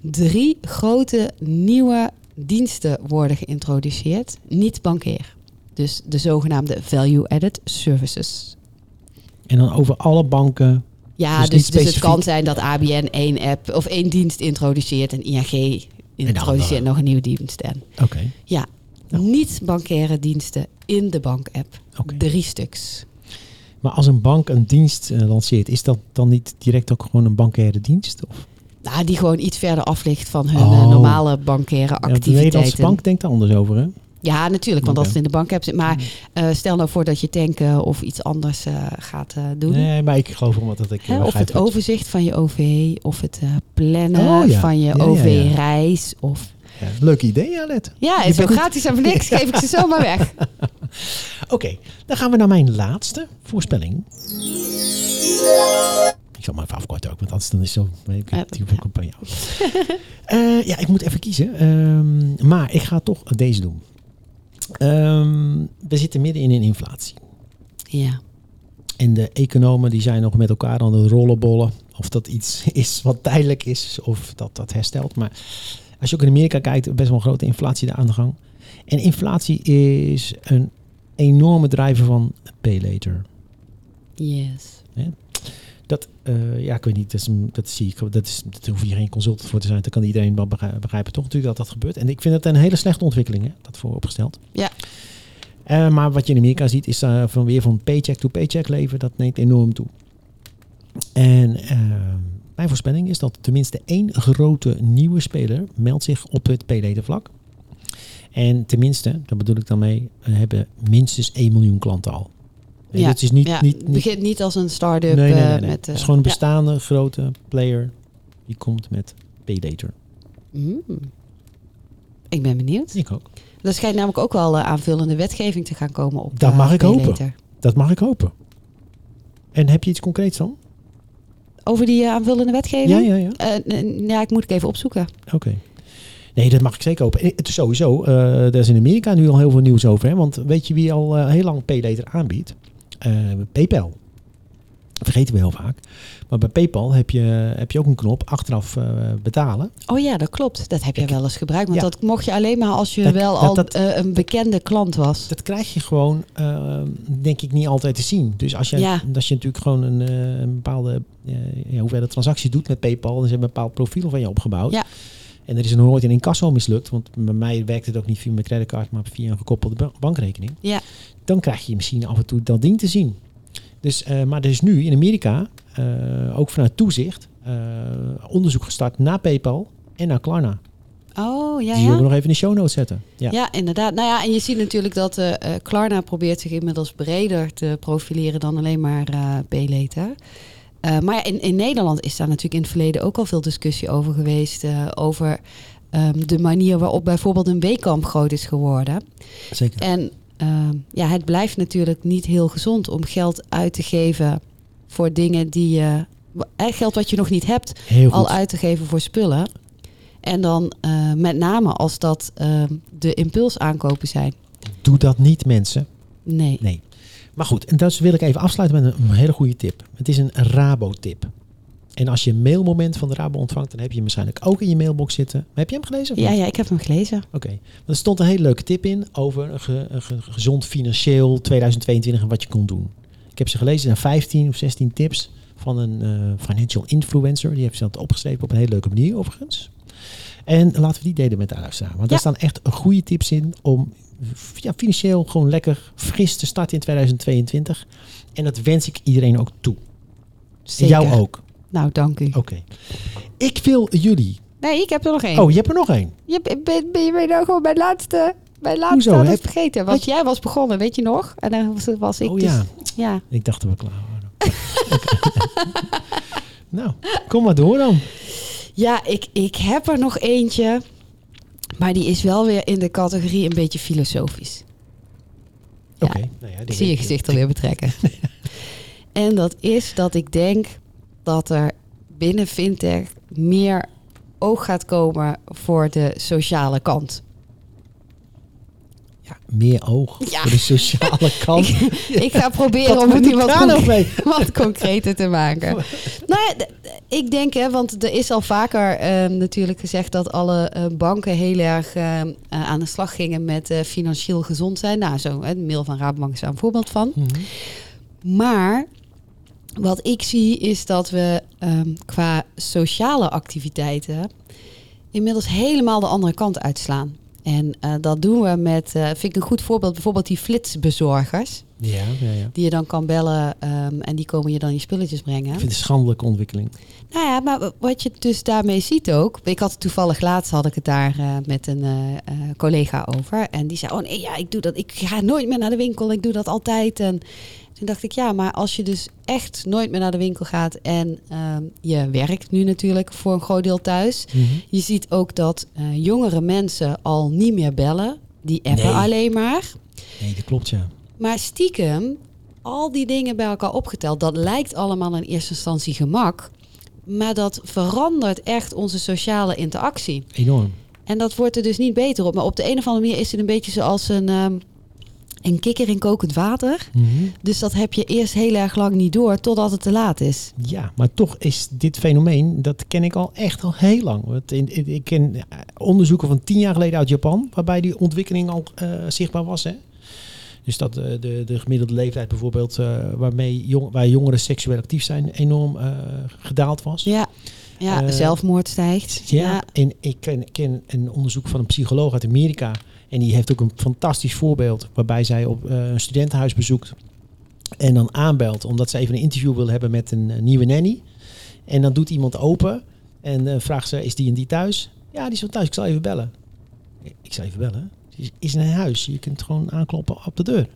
[SPEAKER 4] drie grote nieuwe diensten worden geïntroduceerd, niet bankeer. Dus de zogenaamde value-added services.
[SPEAKER 3] En dan over alle banken.
[SPEAKER 4] Ja,
[SPEAKER 3] Dus
[SPEAKER 4] dus,
[SPEAKER 3] niet
[SPEAKER 4] dus, het
[SPEAKER 3] specifiek.
[SPEAKER 4] kan zijn dat ABN één app of één dienst introduceert en ING
[SPEAKER 3] andere.
[SPEAKER 4] introduceert nog een nieuwe dienst. En
[SPEAKER 3] Oké.
[SPEAKER 4] ja,
[SPEAKER 3] Ja.
[SPEAKER 4] niet-bankaire diensten in de bank-app.
[SPEAKER 3] Oké.
[SPEAKER 4] Drie stuks.
[SPEAKER 3] Maar als een bank een dienst eh, lanceert, is dat dan niet direct ook gewoon een bankaire dienst? Of?
[SPEAKER 4] Nou, die gewoon iets verder af ligt van hun
[SPEAKER 3] Oh.
[SPEAKER 4] eh, normale bankaire
[SPEAKER 3] Ja, de Nederlandse
[SPEAKER 4] activiteiten.
[SPEAKER 3] bank denkt er anders over, hè?
[SPEAKER 4] Ja, natuurlijk, want als
[SPEAKER 3] Oké. Hmm.
[SPEAKER 4] het in de bank-app zit. Maar eh, stel nou voor dat je tanken of iets anders eh, gaat eh, doen.
[SPEAKER 3] Nee, maar ik geloof omdat dat ik. eh,
[SPEAKER 4] Hè, of
[SPEAKER 3] begrijp
[SPEAKER 4] het
[SPEAKER 3] wat-
[SPEAKER 4] overzicht van je OV, of het eh, plannen
[SPEAKER 3] Oh, ja.
[SPEAKER 4] van je
[SPEAKER 3] Ja, ja, ja.
[SPEAKER 4] OV-reis. Of...
[SPEAKER 3] Ja, leuk idee, ja, Let.
[SPEAKER 4] Ja,
[SPEAKER 3] Je
[SPEAKER 4] het is
[SPEAKER 3] bent
[SPEAKER 4] zo
[SPEAKER 3] goed.
[SPEAKER 4] gratis en voor
[SPEAKER 3] <laughs>
[SPEAKER 4] niks. Geef ik ze zomaar weg.
[SPEAKER 3] Oké, dan gaan we naar mijn laatste voorspelling. Ik zal maar even afkorten ook, want anders dan is zo. Ik
[SPEAKER 4] Eh,
[SPEAKER 3] die heb ik ook aan jou. Eh, ja, ik moet even kiezen. Ehm, maar ik ga toch deze doen. Ehm, we zitten midden in een inflatie.
[SPEAKER 4] Ja.
[SPEAKER 3] En de economen die zijn nog met elkaar aan het rollenbollen. Of dat iets <laughs> is wat tijdelijk is of dat dat herstelt. Maar als je ook in Amerika kijkt, best wel een grote inflatie daar aan de gang. En inflatie is een enorme drijver van pay later.
[SPEAKER 4] Yes.
[SPEAKER 3] Dat, eh, ja, ik weet niet, dat, is, een- dat zie ik. Dat is, dat hoef je geen consultant voor te zijn. Dat kan iedereen wel begrijpen, begrijpen toch natuurlijk dat dat gebeurt. En ik vind het een hele slechte ontwikkeling, hè, dat vooropgesteld.
[SPEAKER 4] Ja.
[SPEAKER 3] Eh, maar wat je in Amerika ziet, is eh, van weer van paycheck to paycheck leven. Dat neemt enorm toe. En eh, mijn voorspelling is dat tenminste één grote nieuwe speler meldt zich op het PLD-vlak. En tenminste, daar bedoel ik dan mee, we hebben minstens 1 miljoen klanten al. En
[SPEAKER 4] Ja,
[SPEAKER 3] dat is niet,
[SPEAKER 4] ja,
[SPEAKER 3] niet,
[SPEAKER 4] het
[SPEAKER 3] niet,
[SPEAKER 4] begint niet als een start-up.
[SPEAKER 3] Nee, nee, nee.
[SPEAKER 4] eh,
[SPEAKER 3] nee.
[SPEAKER 4] Met, eh,
[SPEAKER 3] het is gewoon een
[SPEAKER 4] ja.
[SPEAKER 3] bestaande grote player. Die komt met Paylater.
[SPEAKER 4] Mm. Ik ben benieuwd.
[SPEAKER 3] Ik ook.
[SPEAKER 4] Er schijnt namelijk ook wel eh, aanvullende wetgeving te gaan komen op.
[SPEAKER 3] Dat
[SPEAKER 4] eh,
[SPEAKER 3] mag ik
[SPEAKER 4] Pay
[SPEAKER 3] hopen.
[SPEAKER 4] Later.
[SPEAKER 3] Dat mag ik hopen. En heb je iets concreets dan?
[SPEAKER 4] Over die eh, aanvullende wetgeving?
[SPEAKER 3] Ja, ja, ja.
[SPEAKER 4] Eh, n- ja, ik moet het even opzoeken.
[SPEAKER 3] Oké. Nee, dat mag ik zeker hopen. En Het is sowieso, eh daar is in Amerika nu al heel veel nieuws over. Hè? Want weet je wie al eh, heel lang Paylater aanbiedt? Eh, PayPal. Vergeten we heel vaak. Maar bij PayPal heb je, heb je ook een knop achteraf eh, betalen.
[SPEAKER 4] Oh ja, dat klopt. Dat heb jij
[SPEAKER 3] Ik-
[SPEAKER 4] wel eens gebruikt. Want
[SPEAKER 3] Ja.
[SPEAKER 4] dat mocht je alleen maar als je
[SPEAKER 3] Dat-
[SPEAKER 4] wel
[SPEAKER 3] dat-
[SPEAKER 4] al
[SPEAKER 3] dat-
[SPEAKER 4] eh, een bekende klant was.
[SPEAKER 3] Dat krijg je gewoon, eh, denk ik, niet altijd te zien. Dus als je,
[SPEAKER 4] Ja.
[SPEAKER 3] als je natuurlijk gewoon een, eh, een bepaalde eh, ja, hoeveelheid transactie doet met PayPal, dan is er een bepaald profiel van je opgebouwd.
[SPEAKER 4] Ja.
[SPEAKER 3] En er is nog nooit een incasso mislukt, want bij mij werkt het ook niet via mijn creditcard, maar via een gekoppelde ba- bankrekening.
[SPEAKER 4] Ja.
[SPEAKER 3] Dan krijg je misschien af en toe dat ding te zien. Dus, eh, maar er is nu in Amerika, eh, ook vanuit toezicht, eh, onderzoek gestart naar PayPal en naar Klarna.
[SPEAKER 4] Oh, ja,
[SPEAKER 3] Die zullen
[SPEAKER 4] ja.
[SPEAKER 3] we nog even in de show notes zetten. Ja.
[SPEAKER 4] Ja, inderdaad. Nou ja, en je ziet natuurlijk dat eh, eh, Klarna probeert zich inmiddels breder te profileren dan alleen maar eh B-later. Eh, maar ja, in, in Nederland is daar natuurlijk in het verleden ook al veel discussie over geweest. eh, over ehm, de manier waarop bijvoorbeeld een weekamp groot is geworden.
[SPEAKER 3] Zeker.
[SPEAKER 4] En ehm, ja, het blijft natuurlijk niet heel gezond om geld uit te geven voor dingen die je eh, geld wat je nog niet hebt,
[SPEAKER 3] Heel goed.
[SPEAKER 4] al uit te geven voor spullen. En dan eh, met name als dat eh, de impulsaankopen zijn.
[SPEAKER 3] Doe dat niet, mensen.
[SPEAKER 4] Nee.
[SPEAKER 3] Nee. Maar goed, en dat wil ik even afsluiten met een hele goede tip. Het is een Rabo-tip. En als je een mailmoment van de Rabo ontvangt, dan heb je hem waarschijnlijk ook in je mailbox zitten. Heb je hem gelezen? of
[SPEAKER 4] Ja,
[SPEAKER 3] niet?
[SPEAKER 4] ja, ik heb hem gelezen.
[SPEAKER 3] Oké. Er stond een hele leuke tip in over een, ge- een ge- gezond financieel 2022 en wat je kon doen. Ik heb ze gelezen, er zijn 15 of 16 tips van een eh, financial influencer. Die heeft ze dat opgeschreven op een hele leuke manier overigens. En laten we die delen met de luisteraar. Want daar
[SPEAKER 4] Ja.
[SPEAKER 3] staan echt goede tips in om f- ja, financieel gewoon lekker fris te starten in 2022. En dat wens ik iedereen ook toe. En
[SPEAKER 4] Zeker.
[SPEAKER 3] Jou ook.
[SPEAKER 4] Nou, dank u.
[SPEAKER 3] Oké. Ik wil jullie...
[SPEAKER 4] Nee, ik heb er nog één.
[SPEAKER 3] Oh, je hebt er nog één.
[SPEAKER 4] Je ben, ben je bent nou gewoon mijn laatste, mijn laatste
[SPEAKER 3] Hoezo?
[SPEAKER 4] had ik
[SPEAKER 3] Heb-
[SPEAKER 4] vergeten. Want jij was begonnen, weet je nog? En dan was, was ik
[SPEAKER 3] oh
[SPEAKER 4] dus...
[SPEAKER 3] ja.
[SPEAKER 4] ja.
[SPEAKER 3] Ik dacht dat we klaar waren. <laughs> nou, kom maar door dan.
[SPEAKER 4] Ja, ik, ik heb er nog eentje. Maar die is wel weer in de categorie een beetje filosofisch. Ja,
[SPEAKER 3] Oké. Nou ja,
[SPEAKER 4] Ik
[SPEAKER 3] die-
[SPEAKER 4] zie je gezicht alweer
[SPEAKER 3] <laughs>
[SPEAKER 4] betrekken. en dat is dat ik denk dat er binnen fintech meer oog gaat komen voor de sociale kant.
[SPEAKER 3] Ja, meer oog
[SPEAKER 4] Ja.
[SPEAKER 3] voor de sociale kant.
[SPEAKER 4] <laughs> Ik ga proberen
[SPEAKER 3] Wat
[SPEAKER 4] om het
[SPEAKER 3] moet
[SPEAKER 4] nu
[SPEAKER 3] ik
[SPEAKER 4] wat,
[SPEAKER 3] daar nou
[SPEAKER 4] conc-
[SPEAKER 3] mee?
[SPEAKER 4] <laughs> wat concreter te maken. Nou ja, d- d- ik denk, hè, want er is al vaker eh, natuurlijk gezegd dat alle eh, banken heel erg eh, eh, aan de slag gingen met eh, financieel gezond zijn. Nou, zo, hè, de mail van Rabobank is daar een voorbeeld van.
[SPEAKER 3] Mhm.
[SPEAKER 4] Maar wat ik zie is dat we ehm, qua sociale activiteiten inmiddels helemaal de andere kant uitslaan. En eh, dat doen we met, eh, vind ik een goed voorbeeld, bijvoorbeeld die flitsbezorgers.
[SPEAKER 3] Ja, ja, ja.
[SPEAKER 4] Die je dan kan bellen ehm, en die komen je dan je spulletjes
[SPEAKER 3] Ik
[SPEAKER 4] brengen.
[SPEAKER 3] vind het een schandelijke ontwikkeling.
[SPEAKER 4] Nou ja, maar wat je dus daarmee ziet ook. Ik had het toevallig laatst had ik het daar eh, met een eh, eh, collega over. En die zei: Oh nee, ja, ik doe dat. Ik ga nooit meer naar de winkel. Ik doe dat altijd. En toen dacht ik, ja, maar als je dus echt nooit meer naar de winkel gaat. En ehm, je werkt nu natuurlijk voor een groot deel thuis. Je ziet ook dat eh, jongere mensen al niet meer bellen. Die appen
[SPEAKER 3] Nee.
[SPEAKER 4] alleen maar.
[SPEAKER 3] Nee, dat klopt ja.
[SPEAKER 4] Maar stiekem, al die dingen bij elkaar opgeteld, dat lijkt allemaal in eerste instantie gemak. Maar dat verandert echt onze sociale interactie.
[SPEAKER 3] Enorm.
[SPEAKER 4] En dat wordt er dus niet beter op. Maar op de een of andere manier is het een beetje zoals een, ehm, een kikker in kokend water.
[SPEAKER 3] Mhm.
[SPEAKER 4] Dus dat heb je eerst heel erg lang niet door, totdat het te laat is.
[SPEAKER 3] Ja, maar toch is dit fenomeen, dat ken ik al echt al heel lang. Want in- in- ik ken eh, onderzoeken van tien jaar geleden uit Japan, waarbij die ontwikkeling al eh, zichtbaar was. Hè? Dus dat eh, de, de gemiddelde leeftijd bijvoorbeeld, eh, waarmee jong, waar jongeren seksueel actief zijn, enorm eh, gedaald was.
[SPEAKER 4] Ja, ja
[SPEAKER 3] Eh,
[SPEAKER 4] zelfmoord stijgt.
[SPEAKER 3] Ja, en ik ken, ken een onderzoek van een psycholoog uit Amerika. En die heeft ook een fantastisch voorbeeld waarbij zij op eh, een studentenhuis bezoekt. En dan aanbelt omdat ze even een interview wil hebben met een eh, nieuwe nanny. En dan doet iemand open en eh, vraagt ze, is die en die thuis? Ja, die is wel thuis, ik zal even bellen. Ik zal even bellen? Ze is- Is in een huis, je kunt gewoon aankloppen op de deur.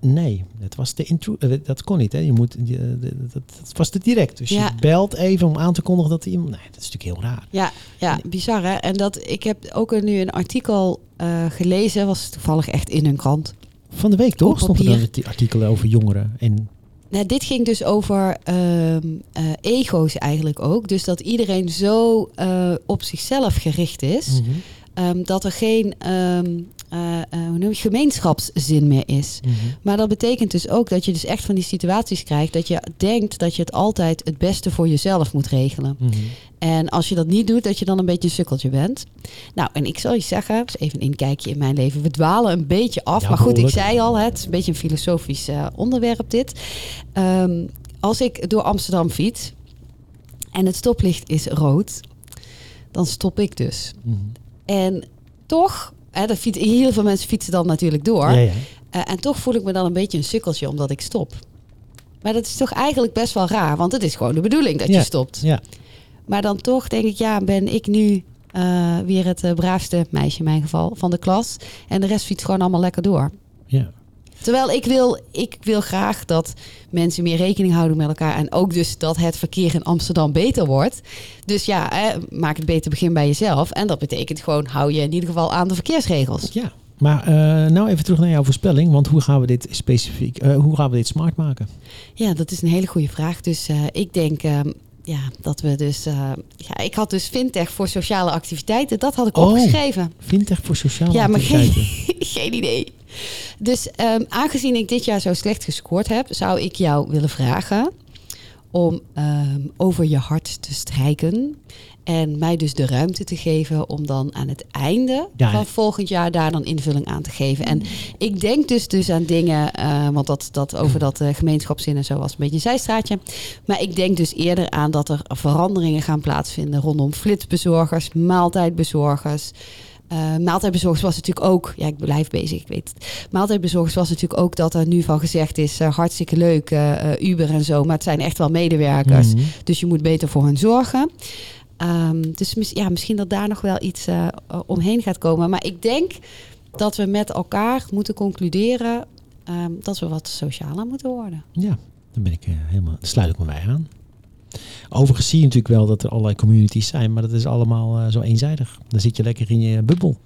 [SPEAKER 3] Nee, dat, was de intro- eh, dat kon niet. Hè. Je moet, je- eh, dat, dat- dat was te direct. Dus
[SPEAKER 4] Ja.
[SPEAKER 3] je belt even om aan te kondigen dat er iemand... Nee, dat is natuurlijk heel raar.
[SPEAKER 4] Ja, ja, bizar hè. En dat, ik heb ook een- nu een artikel eh, gelezen, was toevallig echt in een krant.
[SPEAKER 3] Van de week
[SPEAKER 4] Op
[SPEAKER 3] toch? Stond er dan
[SPEAKER 4] papier.
[SPEAKER 3] het artikel over jongeren. En
[SPEAKER 4] Nou, dit ging dus over ehm, eh, ego's eigenlijk ook. Dus dat iedereen zo eh, op zichzelf gericht is.
[SPEAKER 3] Mm.
[SPEAKER 4] ehm, dat er geen ehm, eh, eh, hoe noem je, gemeenschapszin meer is. Maar dat betekent dus ook dat je dus echt van die situaties krijgt dat je denkt dat je het altijd het beste voor jezelf moet regelen.
[SPEAKER 3] Mhm,
[SPEAKER 4] En als je dat niet doet, dat je dan een beetje een sukkeltje bent. Nou, en ik zal je zeggen, dus even een inkijkje in mijn leven. We dwalen een beetje af.
[SPEAKER 3] Ja,
[SPEAKER 4] maar goed, ik
[SPEAKER 3] behoorlijk.
[SPEAKER 4] zei al, hè, het is een beetje een filosofisch eh, onderwerp dit. Ehm, als ik door Amsterdam fiets en het stoplicht is rood, dan stop ik dus.
[SPEAKER 3] mhm,
[SPEAKER 4] En toch, hè, dat fiets, heel veel mensen fietsen dan natuurlijk door.
[SPEAKER 3] Ja, ja.
[SPEAKER 4] Eh, en toch voel ik me dan een beetje een sukkeltje omdat ik stop. Maar dat is toch eigenlijk best wel raar, want het is gewoon de bedoeling dat
[SPEAKER 3] Ja.
[SPEAKER 4] je stopt.
[SPEAKER 3] ja.
[SPEAKER 4] Maar dan toch denk ik, ja, ben ik nu eh, weer het eh, braafste meisje in mijn geval van de klas. En de rest fietst gewoon allemaal lekker door.
[SPEAKER 3] ja.
[SPEAKER 4] Terwijl ik wil, ik wil graag dat mensen meer rekening houden met elkaar. En ook dus dat het verkeer in Amsterdam beter wordt. Dus ja, eh, maak het beter begin bij jezelf. En dat betekent gewoon, hou je in ieder geval aan de verkeersregels.
[SPEAKER 3] Ja. Maar eh, nou even terug naar jouw voorspelling. Want hoe gaan we dit specifiek, eh, hoe gaan we dit smart maken?
[SPEAKER 4] Ja, dat is een hele goede vraag. Dus eh, ik denk ehm, ja, dat we dus... eh, ja, ik had dus fintech voor sociale activiteiten. Dat had ik
[SPEAKER 3] Oh.
[SPEAKER 4] opgeschreven.
[SPEAKER 3] Fintech voor sociale
[SPEAKER 4] Ja, maar geen,
[SPEAKER 3] activiteiten.
[SPEAKER 4] <laughs> geen idee. Dus ehm, aangezien ik dit jaar zo slecht gescoord heb, zou ik jou willen vragen om ehm, over je hart te strijken. En mij dus de ruimte te geven om dan aan het einde
[SPEAKER 3] Ja,
[SPEAKER 4] van
[SPEAKER 3] ja.
[SPEAKER 4] volgend jaar daar dan invulling aan te geven. En ik denk dus, dus aan dingen, eh, want dat, dat over dat eh, gemeenschapszin en zo was een beetje een zijstraatje. Maar ik denk dus eerder aan dat er veranderingen gaan plaatsvinden rondom flitsbezorgers, maaltijdbezorgers. Eh, maaltijdbezorgers was natuurlijk ook, ja ik blijf bezig, ik weet het. Maaltijdbezorgers was natuurlijk ook dat er nu van gezegd is, eh, hartstikke leuk, eh, eh, Uber en zo. Maar het zijn echt wel medewerkers,
[SPEAKER 3] Mhm.
[SPEAKER 4] dus je moet beter voor hen zorgen. Ehm, dus mis- ja, misschien dat daar nog wel iets eh, eh, omheen gaat komen. Maar ik denk dat we met elkaar moeten concluderen ehm, dat we wat socialer moeten worden.
[SPEAKER 3] Ja, dan ben ik eh, helemaal. Dan sluit ik me bij aan. Overigens zie je natuurlijk wel dat er allerlei communities zijn, maar dat is allemaal eh, zo eenzijdig. Dan zit je lekker in je bubbel.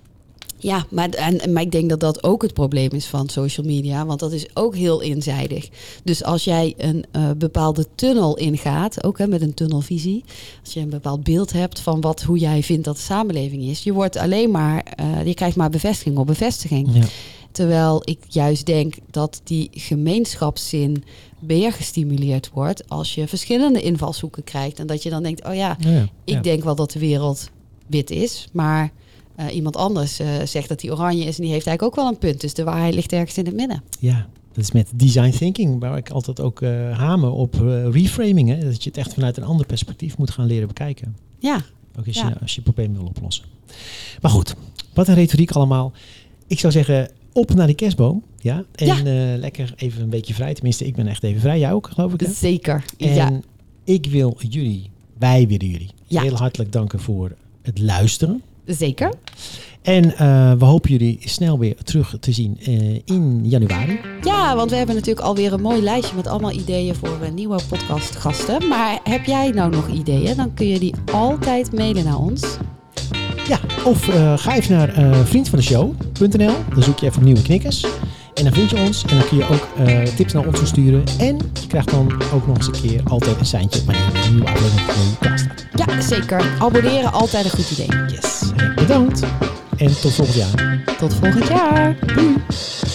[SPEAKER 4] Ja, maar, en, maar ik denk dat dat ook het probleem is van social media, want dat is ook heel eenzijdig. Dus als jij een eh, bepaalde tunnel ingaat, ook hè, met een tunnelvisie, als je een bepaald beeld hebt van wat, hoe jij vindt dat de samenleving is, je wordt alleen maar, eh, je krijgt maar bevestiging op bevestiging.
[SPEAKER 3] Ja.
[SPEAKER 4] Terwijl ik juist denk dat die gemeenschapszin meer gestimuleerd wordt als je verschillende invalshoeken krijgt. En dat je dan denkt, oh ja,
[SPEAKER 3] Ja, ja.
[SPEAKER 4] ik denk wel dat de wereld wit is, maar eh, iemand anders eh, zegt dat die oranje is en die heeft eigenlijk ook wel een punt. Dus de waarheid ligt ergens in het midden.
[SPEAKER 3] Ja, dat is met design thinking, waar ik altijd ook eh, hamer op eh, reframing. Hè? Dat je het echt vanuit een ander perspectief moet gaan leren bekijken.
[SPEAKER 4] Ja,
[SPEAKER 3] Ook als,
[SPEAKER 4] Ja.
[SPEAKER 3] je, nou, als je problemen wil oplossen. Maar goed, wat een retoriek allemaal. Ik zou zeggen, op naar die kerstboom. Ja, en
[SPEAKER 4] Ja.
[SPEAKER 3] eh, lekker even een beetje vrij. Tenminste, ik ben echt even vrij. Jij ook, geloof ik. Hè?
[SPEAKER 4] zeker.
[SPEAKER 3] En
[SPEAKER 4] Ja,
[SPEAKER 3] ik wil jullie, wij willen jullie,
[SPEAKER 4] Ja.
[SPEAKER 3] heel hartelijk danken voor het luisteren.
[SPEAKER 4] zeker.
[SPEAKER 3] En eh, we hopen jullie snel weer terug te zien eh, in januari.
[SPEAKER 4] Ja, want we hebben natuurlijk alweer een mooi lijstje met allemaal ideeën voor eh, nieuwe podcastgasten. Maar heb jij nou nog ideeën, dan kun je die altijd mailen naar ons.
[SPEAKER 3] Ja, of eh, ga even naar eh vriendvandeshow.nl. Dan zoek je even op nieuwe knikkers. En dan vind je ons. En dan kun je ook eh, tips naar ons versturen. En je krijgt dan ook nog eens een keer altijd een seintje wanneer er een nieuwe aflevering van je klaar staat.
[SPEAKER 4] Ja, zeker. Abonneren, altijd een goed idee.
[SPEAKER 3] Yes. Bedankt. En tot volgend jaar.
[SPEAKER 4] Tot volgend jaar. Doei.